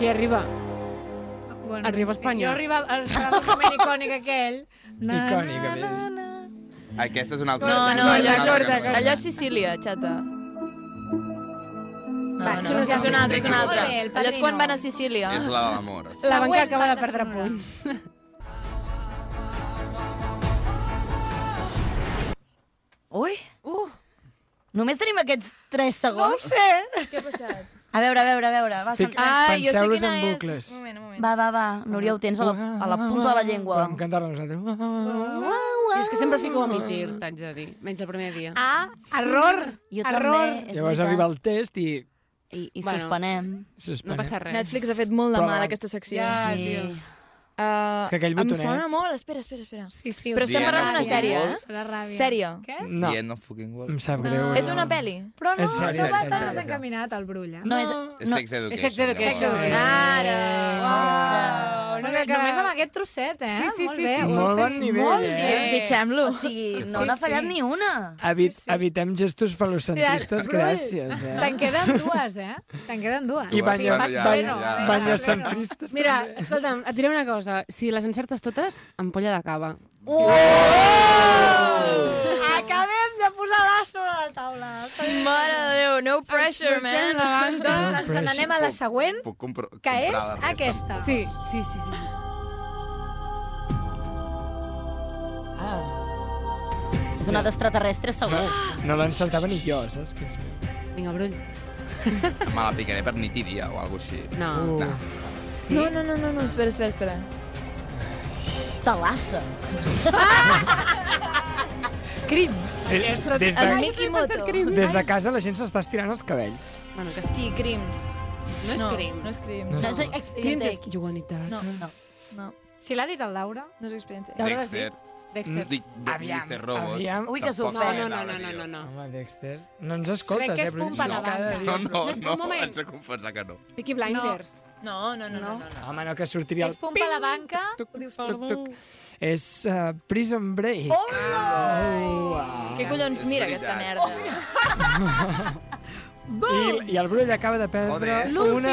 [SPEAKER 7] Què arriba? Bueno,
[SPEAKER 11] Arriba
[SPEAKER 7] sé.
[SPEAKER 11] Espanya.
[SPEAKER 7] Jo arriba, arriba el moment icònic aquell. Na,
[SPEAKER 2] Icònic,
[SPEAKER 7] na, na, na.
[SPEAKER 2] Aquesta és una altra...
[SPEAKER 12] No, no, allò és,
[SPEAKER 2] Corta, corta.
[SPEAKER 12] allò és Sicília, xata. No,
[SPEAKER 7] Va,
[SPEAKER 12] no,
[SPEAKER 7] xulo,
[SPEAKER 12] és una altra, és una altra.
[SPEAKER 7] Molt bé, el
[SPEAKER 12] Allò és quan van a
[SPEAKER 7] Padrino.
[SPEAKER 12] Sicília.
[SPEAKER 2] És la de l'amor.
[SPEAKER 11] La banca
[SPEAKER 7] Següent
[SPEAKER 11] acaba de
[SPEAKER 7] banda
[SPEAKER 11] perdre
[SPEAKER 7] sonora.
[SPEAKER 11] punts.
[SPEAKER 10] Ui. Uh. Només tenim aquests 3 segons? No sé.
[SPEAKER 12] Què ha passat?
[SPEAKER 10] A veure, a veure, a veure. Va,
[SPEAKER 9] Fic-
[SPEAKER 10] centrar.
[SPEAKER 9] Ah, jo sé Penseu-los quina en és. bucles. Un
[SPEAKER 12] moment, un
[SPEAKER 10] moment. Va, va, va. Núria, ho tens a la, a la punta de la llengua.
[SPEAKER 9] Podem cantar-la nosaltres.
[SPEAKER 11] I és que sempre fico a mitir, t'haig de dir. Menys el primer dia.
[SPEAKER 7] Ah, error!
[SPEAKER 10] Jo
[SPEAKER 7] error.
[SPEAKER 10] també, és
[SPEAKER 9] Llavors
[SPEAKER 10] veritat.
[SPEAKER 9] arriba el test i...
[SPEAKER 10] I, i
[SPEAKER 9] Bueno,
[SPEAKER 10] suspenem.
[SPEAKER 9] suspenem. no passa res.
[SPEAKER 12] Netflix ha fet molt de
[SPEAKER 9] Però
[SPEAKER 12] mal
[SPEAKER 9] la-
[SPEAKER 12] aquesta secció.
[SPEAKER 9] Ja, Sí. tio.
[SPEAKER 12] Uh,
[SPEAKER 9] És que aquell eh? botonet-
[SPEAKER 12] Em sona molt... Espera, espera, espera.
[SPEAKER 7] Sí, sí,
[SPEAKER 12] Però estem
[SPEAKER 2] Diana
[SPEAKER 12] parlant d'una
[SPEAKER 2] Fucking
[SPEAKER 12] sèrie,
[SPEAKER 2] Wolf.
[SPEAKER 12] eh? Sèrie. Què?
[SPEAKER 9] No.
[SPEAKER 2] The end of fucking world.
[SPEAKER 9] Em sap greu.
[SPEAKER 12] És una pel·li.
[SPEAKER 7] Però no,
[SPEAKER 9] És sèrie,
[SPEAKER 7] no va
[SPEAKER 9] és
[SPEAKER 7] tan
[SPEAKER 9] sèrie.
[SPEAKER 7] desencaminat el brull, eh?
[SPEAKER 10] No, és...
[SPEAKER 2] És eh? Sex Education.
[SPEAKER 11] És Sex Education.
[SPEAKER 2] llavors.
[SPEAKER 11] Ah, Sex
[SPEAKER 12] Ara!
[SPEAKER 7] Oh, no, només amb aquest trosset, eh?
[SPEAKER 11] Sí, sí,
[SPEAKER 7] Molt
[SPEAKER 11] sí,
[SPEAKER 7] bé.
[SPEAKER 11] sí, sí.
[SPEAKER 9] Molt bon nivell,
[SPEAKER 7] Molt
[SPEAKER 9] eh?
[SPEAKER 7] bé.
[SPEAKER 12] Fitxem-lo.
[SPEAKER 10] O sigui, no
[SPEAKER 7] Sí,
[SPEAKER 10] n'ha
[SPEAKER 7] sí.
[SPEAKER 10] fallat ni una.
[SPEAKER 9] Evit, Evitem gestos falocentristes,
[SPEAKER 7] Brull.
[SPEAKER 9] gràcies. Eh?
[SPEAKER 7] Te'n queden dues, eh? Te'n queden dues.
[SPEAKER 9] I banya,
[SPEAKER 7] Vas
[SPEAKER 9] banya,
[SPEAKER 7] pleno, vas
[SPEAKER 9] banya
[SPEAKER 7] pleno.
[SPEAKER 9] centristes.
[SPEAKER 11] Mira, escolta'm, et diré una cosa. Si les encertes totes, ampolla de cava.
[SPEAKER 12] Oh!
[SPEAKER 7] Acabem de posar-la sobre la taula.
[SPEAKER 12] Mare de Déu, no pressure, man.
[SPEAKER 7] la banca. Doncs ens n'anem a la següent,
[SPEAKER 2] Puc compro- comprar...
[SPEAKER 7] que és
[SPEAKER 2] la resta.
[SPEAKER 7] aquesta.
[SPEAKER 11] Sí, sí, sí. sí.
[SPEAKER 10] És una d'extraterrestre, segur.
[SPEAKER 9] No l'encertava ni jo, saps? Que és...
[SPEAKER 11] Vinga, Brull.
[SPEAKER 2] Me la picaré per nit i dia o alguna així.
[SPEAKER 11] No.
[SPEAKER 2] no.
[SPEAKER 12] No, no, no, no, no, espera, espera, espera.
[SPEAKER 10] Talassa.
[SPEAKER 7] Crims.
[SPEAKER 9] Eh, des de-
[SPEAKER 12] El Mikimoto.
[SPEAKER 9] Des de casa la gent s'està estirant els cabells.
[SPEAKER 11] Bueno, que
[SPEAKER 12] Hosti, crims.
[SPEAKER 11] No és
[SPEAKER 12] no,
[SPEAKER 11] crim.
[SPEAKER 12] No és crim.
[SPEAKER 9] No és-
[SPEAKER 10] No és Expediente
[SPEAKER 11] Crims és jugonitat.
[SPEAKER 12] No,
[SPEAKER 10] No.
[SPEAKER 12] no,
[SPEAKER 7] Si l'ha dit el Laura...
[SPEAKER 12] no és expediente.
[SPEAKER 2] Dexter.
[SPEAKER 11] Dexter.
[SPEAKER 2] Dic,
[SPEAKER 9] Aviam,
[SPEAKER 2] Mr. Robot.
[SPEAKER 9] aviam.
[SPEAKER 10] Ui, que
[SPEAKER 2] Tampoc
[SPEAKER 10] s'ofèn.
[SPEAKER 2] li
[SPEAKER 11] No, no,
[SPEAKER 2] agrada,
[SPEAKER 11] no, no,
[SPEAKER 2] tio.
[SPEAKER 11] no, no.
[SPEAKER 9] Home, Dexter, no ens escoltes,
[SPEAKER 7] Crec que és
[SPEAKER 9] eh? però
[SPEAKER 7] pompa
[SPEAKER 9] ens-
[SPEAKER 7] la
[SPEAKER 9] cada
[SPEAKER 7] banca.
[SPEAKER 9] dia-
[SPEAKER 2] No, no,
[SPEAKER 11] Un
[SPEAKER 2] no,
[SPEAKER 11] moment.
[SPEAKER 2] haig de confessar que no.
[SPEAKER 11] Peaky Blinders.
[SPEAKER 12] No, no, no, no. no, no.
[SPEAKER 9] Home, no, que sortiria el...
[SPEAKER 7] És pompa a la banca, ho dius tu.
[SPEAKER 9] Tuc, tuc. És uh, Prison Break. Ah.
[SPEAKER 12] Què
[SPEAKER 9] Hola!
[SPEAKER 12] collons
[SPEAKER 2] És
[SPEAKER 12] mira
[SPEAKER 2] veritat.
[SPEAKER 12] aquesta merda?
[SPEAKER 9] I, I el Brull acaba de perdre
[SPEAKER 2] Joder.
[SPEAKER 9] una...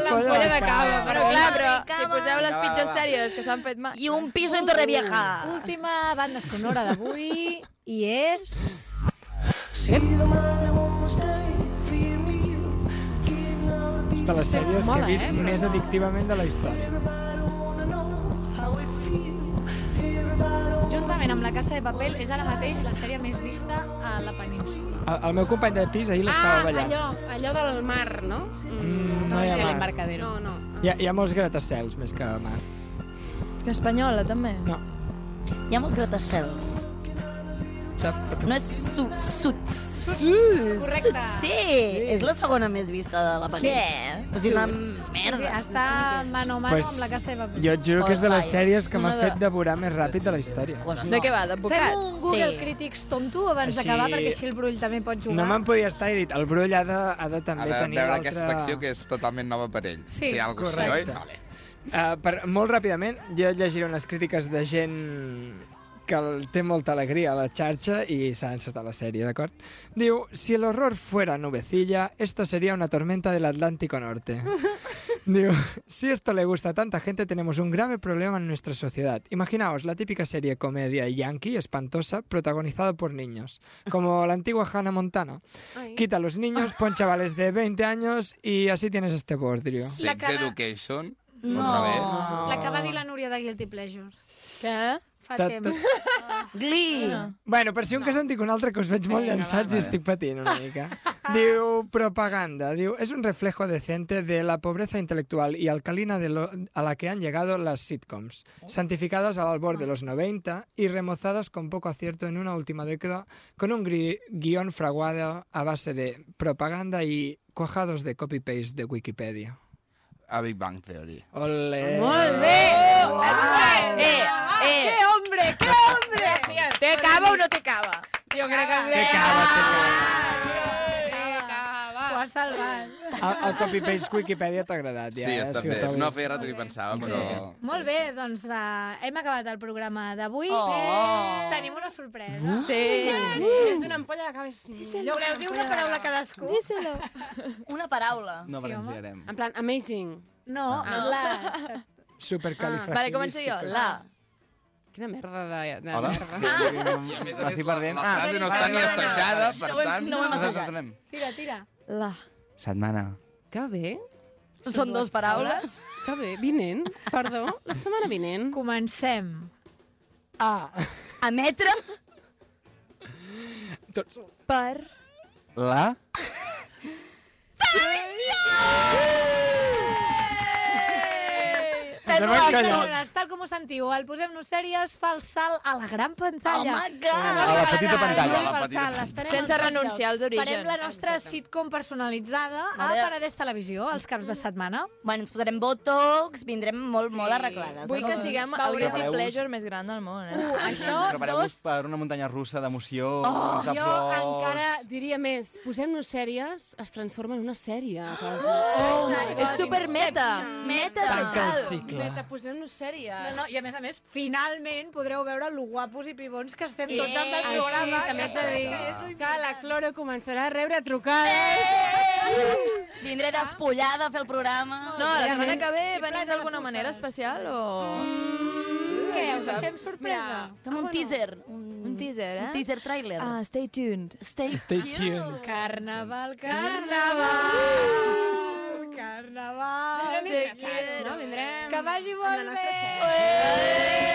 [SPEAKER 7] l'ampolla de cava.
[SPEAKER 12] Però clar, però si poseu les pitjors sèries que s'han fet mai...
[SPEAKER 10] I un piso en Torrevieja.
[SPEAKER 7] Última banda sonora d'avui i és...
[SPEAKER 9] És de les sèries que
[SPEAKER 11] Mola,
[SPEAKER 9] he
[SPEAKER 11] eh,
[SPEAKER 9] vist més addictivament de la història.
[SPEAKER 7] Juntament amb La Casa de Papel és ara mateix la sèrie més vista a la península.
[SPEAKER 9] El, el meu company de pis ahir l'estava
[SPEAKER 11] Ah,
[SPEAKER 9] ballant.
[SPEAKER 11] allò, allò del mar, no?
[SPEAKER 9] Mm, no hi ha mar.
[SPEAKER 7] l'embarcadero.
[SPEAKER 11] No, no.
[SPEAKER 9] Hi ha, hi ha molts gratacels més que mar.
[SPEAKER 12] Que espanyola, també.
[SPEAKER 9] No.
[SPEAKER 10] Hi ha molts gratacels. No és su, suts.
[SPEAKER 9] Mm.
[SPEAKER 7] Correcte.
[SPEAKER 10] Sí, és la segona més vista de la pel·lícula.
[SPEAKER 12] Sí.
[SPEAKER 10] O sigui, una
[SPEAKER 7] Sí,
[SPEAKER 10] merda.
[SPEAKER 7] està mano a mano
[SPEAKER 9] Pues,
[SPEAKER 7] amb La Casa de Papel.
[SPEAKER 9] Jo et juro que és de les
[SPEAKER 10] Osvaldo.
[SPEAKER 9] sèries que m'ha
[SPEAKER 12] Una de-
[SPEAKER 9] fet devorar més ràpid de la història.
[SPEAKER 10] Pues no.
[SPEAKER 12] De què va?
[SPEAKER 7] Fem
[SPEAKER 12] D'advocats?
[SPEAKER 7] un Google
[SPEAKER 10] Sí.
[SPEAKER 7] sí. Critics tonto abans
[SPEAKER 9] Així-
[SPEAKER 7] d'acabar, perquè si el Brull també pot jugar.
[SPEAKER 9] No me'n podia estar i dit, el Brull ha de, ha de
[SPEAKER 2] Ha
[SPEAKER 9] també
[SPEAKER 2] de
[SPEAKER 9] tenir
[SPEAKER 2] veure
[SPEAKER 9] l'altra...
[SPEAKER 2] aquesta secció que és totalment nova per ell.
[SPEAKER 7] Sí,
[SPEAKER 2] sí algo així, oi?
[SPEAKER 9] correcte.
[SPEAKER 2] Vale.
[SPEAKER 9] Uh, per, molt ràpidament, jo llegiré unes crítiques de gent que el té molta alegria a la xarxa i s'ha encetat la sèrie, d'acord? Diu, si el horror fuera nubecilla, esto sería una tormenta del Atlántico Norte. Digo, si esto le gusta a tanta gente, tenemos un grave problema en nuestra sociedad. Imaginaos la típica serie comedia yankee espantosa protagonizada por niños, como la antigua Hannah Montana. Quita a los niños, pon chavales de 20 años y así tienes este bordrio.
[SPEAKER 7] La
[SPEAKER 2] Sex
[SPEAKER 7] cara-
[SPEAKER 2] Education,
[SPEAKER 10] No.
[SPEAKER 2] otra vez.
[SPEAKER 7] La que va dir la Núria de Guilty Pleasures.
[SPEAKER 12] Què?
[SPEAKER 7] Fa
[SPEAKER 9] Ta- ta-
[SPEAKER 7] temps.
[SPEAKER 10] Glee.
[SPEAKER 9] Bueno, per si un cas en dic un altre que us veig molt llançats i estic patint una mica. Diu propaganda. Diu, es un reflejo decente de la pobreza intelectual y alcalina de lo- a la que han llegado las sitcoms, santificadas al albor de los 90 y remozadas con poco acierto en una última década, con un gri- guión fraguado a base de propaganda y cuajados de copy-paste de Wikipedia.
[SPEAKER 2] A Big Bang Theory.
[SPEAKER 9] Ole.
[SPEAKER 2] Molt
[SPEAKER 3] bé!
[SPEAKER 15] Eh, eh.
[SPEAKER 3] ¡Qué
[SPEAKER 7] hombre, qué hombre!
[SPEAKER 3] ¿Te cava o no te cava?
[SPEAKER 7] Yo creo que...
[SPEAKER 9] Te cago, te
[SPEAKER 7] Ho has salvat.
[SPEAKER 9] cago. El, el copy-paste Wikipedia t'ha agradat, ja.
[SPEAKER 2] Sí,
[SPEAKER 9] eh? Ha
[SPEAKER 2] està
[SPEAKER 9] sigut
[SPEAKER 2] bé.
[SPEAKER 9] el-
[SPEAKER 2] No feia rato que hi pensava, però...
[SPEAKER 7] Molt bé, doncs uh, hem acabat el programa d'avui.
[SPEAKER 2] Oh.
[SPEAKER 7] Eh, Tenim una sorpresa.
[SPEAKER 15] Sí.
[SPEAKER 7] Sí.
[SPEAKER 15] És una ampolla de cabes...
[SPEAKER 7] Díselo. Voleu dir una paraula cadascú? Díselo.
[SPEAKER 10] Una paraula.
[SPEAKER 11] No presenciarem.
[SPEAKER 8] En plan, amazing.
[SPEAKER 7] No,
[SPEAKER 8] Ah.
[SPEAKER 7] les...
[SPEAKER 9] Supercalifragilística.
[SPEAKER 8] Vale, començo
[SPEAKER 7] jo. La.
[SPEAKER 8] Quina merda de... de
[SPEAKER 11] Hola.
[SPEAKER 8] merda.
[SPEAKER 11] I a més a més, perdent.
[SPEAKER 2] la frase no està ni assajada, per
[SPEAKER 11] No ho hem-
[SPEAKER 2] tant,
[SPEAKER 11] no ho hem
[SPEAKER 2] nosaltres
[SPEAKER 11] assajat.
[SPEAKER 2] entenem.
[SPEAKER 7] Tira, tira.
[SPEAKER 8] La.
[SPEAKER 11] Setmana.
[SPEAKER 8] Que bé.
[SPEAKER 10] Són dues paraules.
[SPEAKER 8] Que bé, vinent. Perdó, la setmana vinent.
[SPEAKER 7] Comencem.
[SPEAKER 9] A.
[SPEAKER 10] Emetre.
[SPEAKER 9] Tots.
[SPEAKER 3] Per...
[SPEAKER 11] La... Ens
[SPEAKER 7] Fem
[SPEAKER 11] hem
[SPEAKER 7] les
[SPEAKER 11] encallat.
[SPEAKER 7] coses, Eh, tal com ho sentiu. El Posem-nos sèries fa el salt a la gran pantalla.
[SPEAKER 3] Oh my
[SPEAKER 7] God!
[SPEAKER 11] A la petita pantalla. A la petita
[SPEAKER 3] Sense renunciar als orígens.
[SPEAKER 7] Farem la nostra sitcom personalitzada eh, a
[SPEAKER 10] Mare.
[SPEAKER 7] Paradès Televisió els caps de setmana.
[SPEAKER 10] Bueno, ens posarem botox, vindrem molt, molt arreglades.
[SPEAKER 12] Vull que siguem el
[SPEAKER 11] Veureu.
[SPEAKER 12] guilty pleasure més gran del món, eh?
[SPEAKER 7] Uh,
[SPEAKER 11] Prepareu-vos per una muntanya russa d'emoció,
[SPEAKER 8] Oh,
[SPEAKER 11] de
[SPEAKER 8] jo
[SPEAKER 11] plors...
[SPEAKER 8] encara diria més. Posem-nos sèries, es transforma en una sèrie. quasi.
[SPEAKER 3] Oh my God. És supermeta. Meta
[SPEAKER 9] Tanca el cicle.
[SPEAKER 8] Meta, posem-nos sèries.
[SPEAKER 7] No, no, i a més a més, finalment podreu veure lo guapos i pibons que estem
[SPEAKER 8] Sí.
[SPEAKER 7] tots amb el
[SPEAKER 8] Així,
[SPEAKER 7] programa.
[SPEAKER 8] també
[SPEAKER 7] que
[SPEAKER 8] has de dir
[SPEAKER 7] és lo
[SPEAKER 8] que la Cloro començarà a rebre trucades.
[SPEAKER 10] Vindré despullada a fer el programa.
[SPEAKER 12] No, la setmana que ve venim d'alguna manera especial o...?
[SPEAKER 7] Què? Eh, Us deixem sorpresa?
[SPEAKER 10] Fem un teaser. Un,
[SPEAKER 12] un teaser, eh?
[SPEAKER 10] Un teaser trailer.
[SPEAKER 12] Ah, stay tuned.
[SPEAKER 10] Stay,
[SPEAKER 12] Stay
[SPEAKER 10] tuned.
[SPEAKER 7] Carnaval, carnaval,
[SPEAKER 8] Uh!
[SPEAKER 7] carnaval.
[SPEAKER 15] Vindrem
[SPEAKER 7] te
[SPEAKER 15] disfressats,
[SPEAKER 7] quiero.
[SPEAKER 15] no? Vindrem
[SPEAKER 7] Que vagi molt bé. Adéu.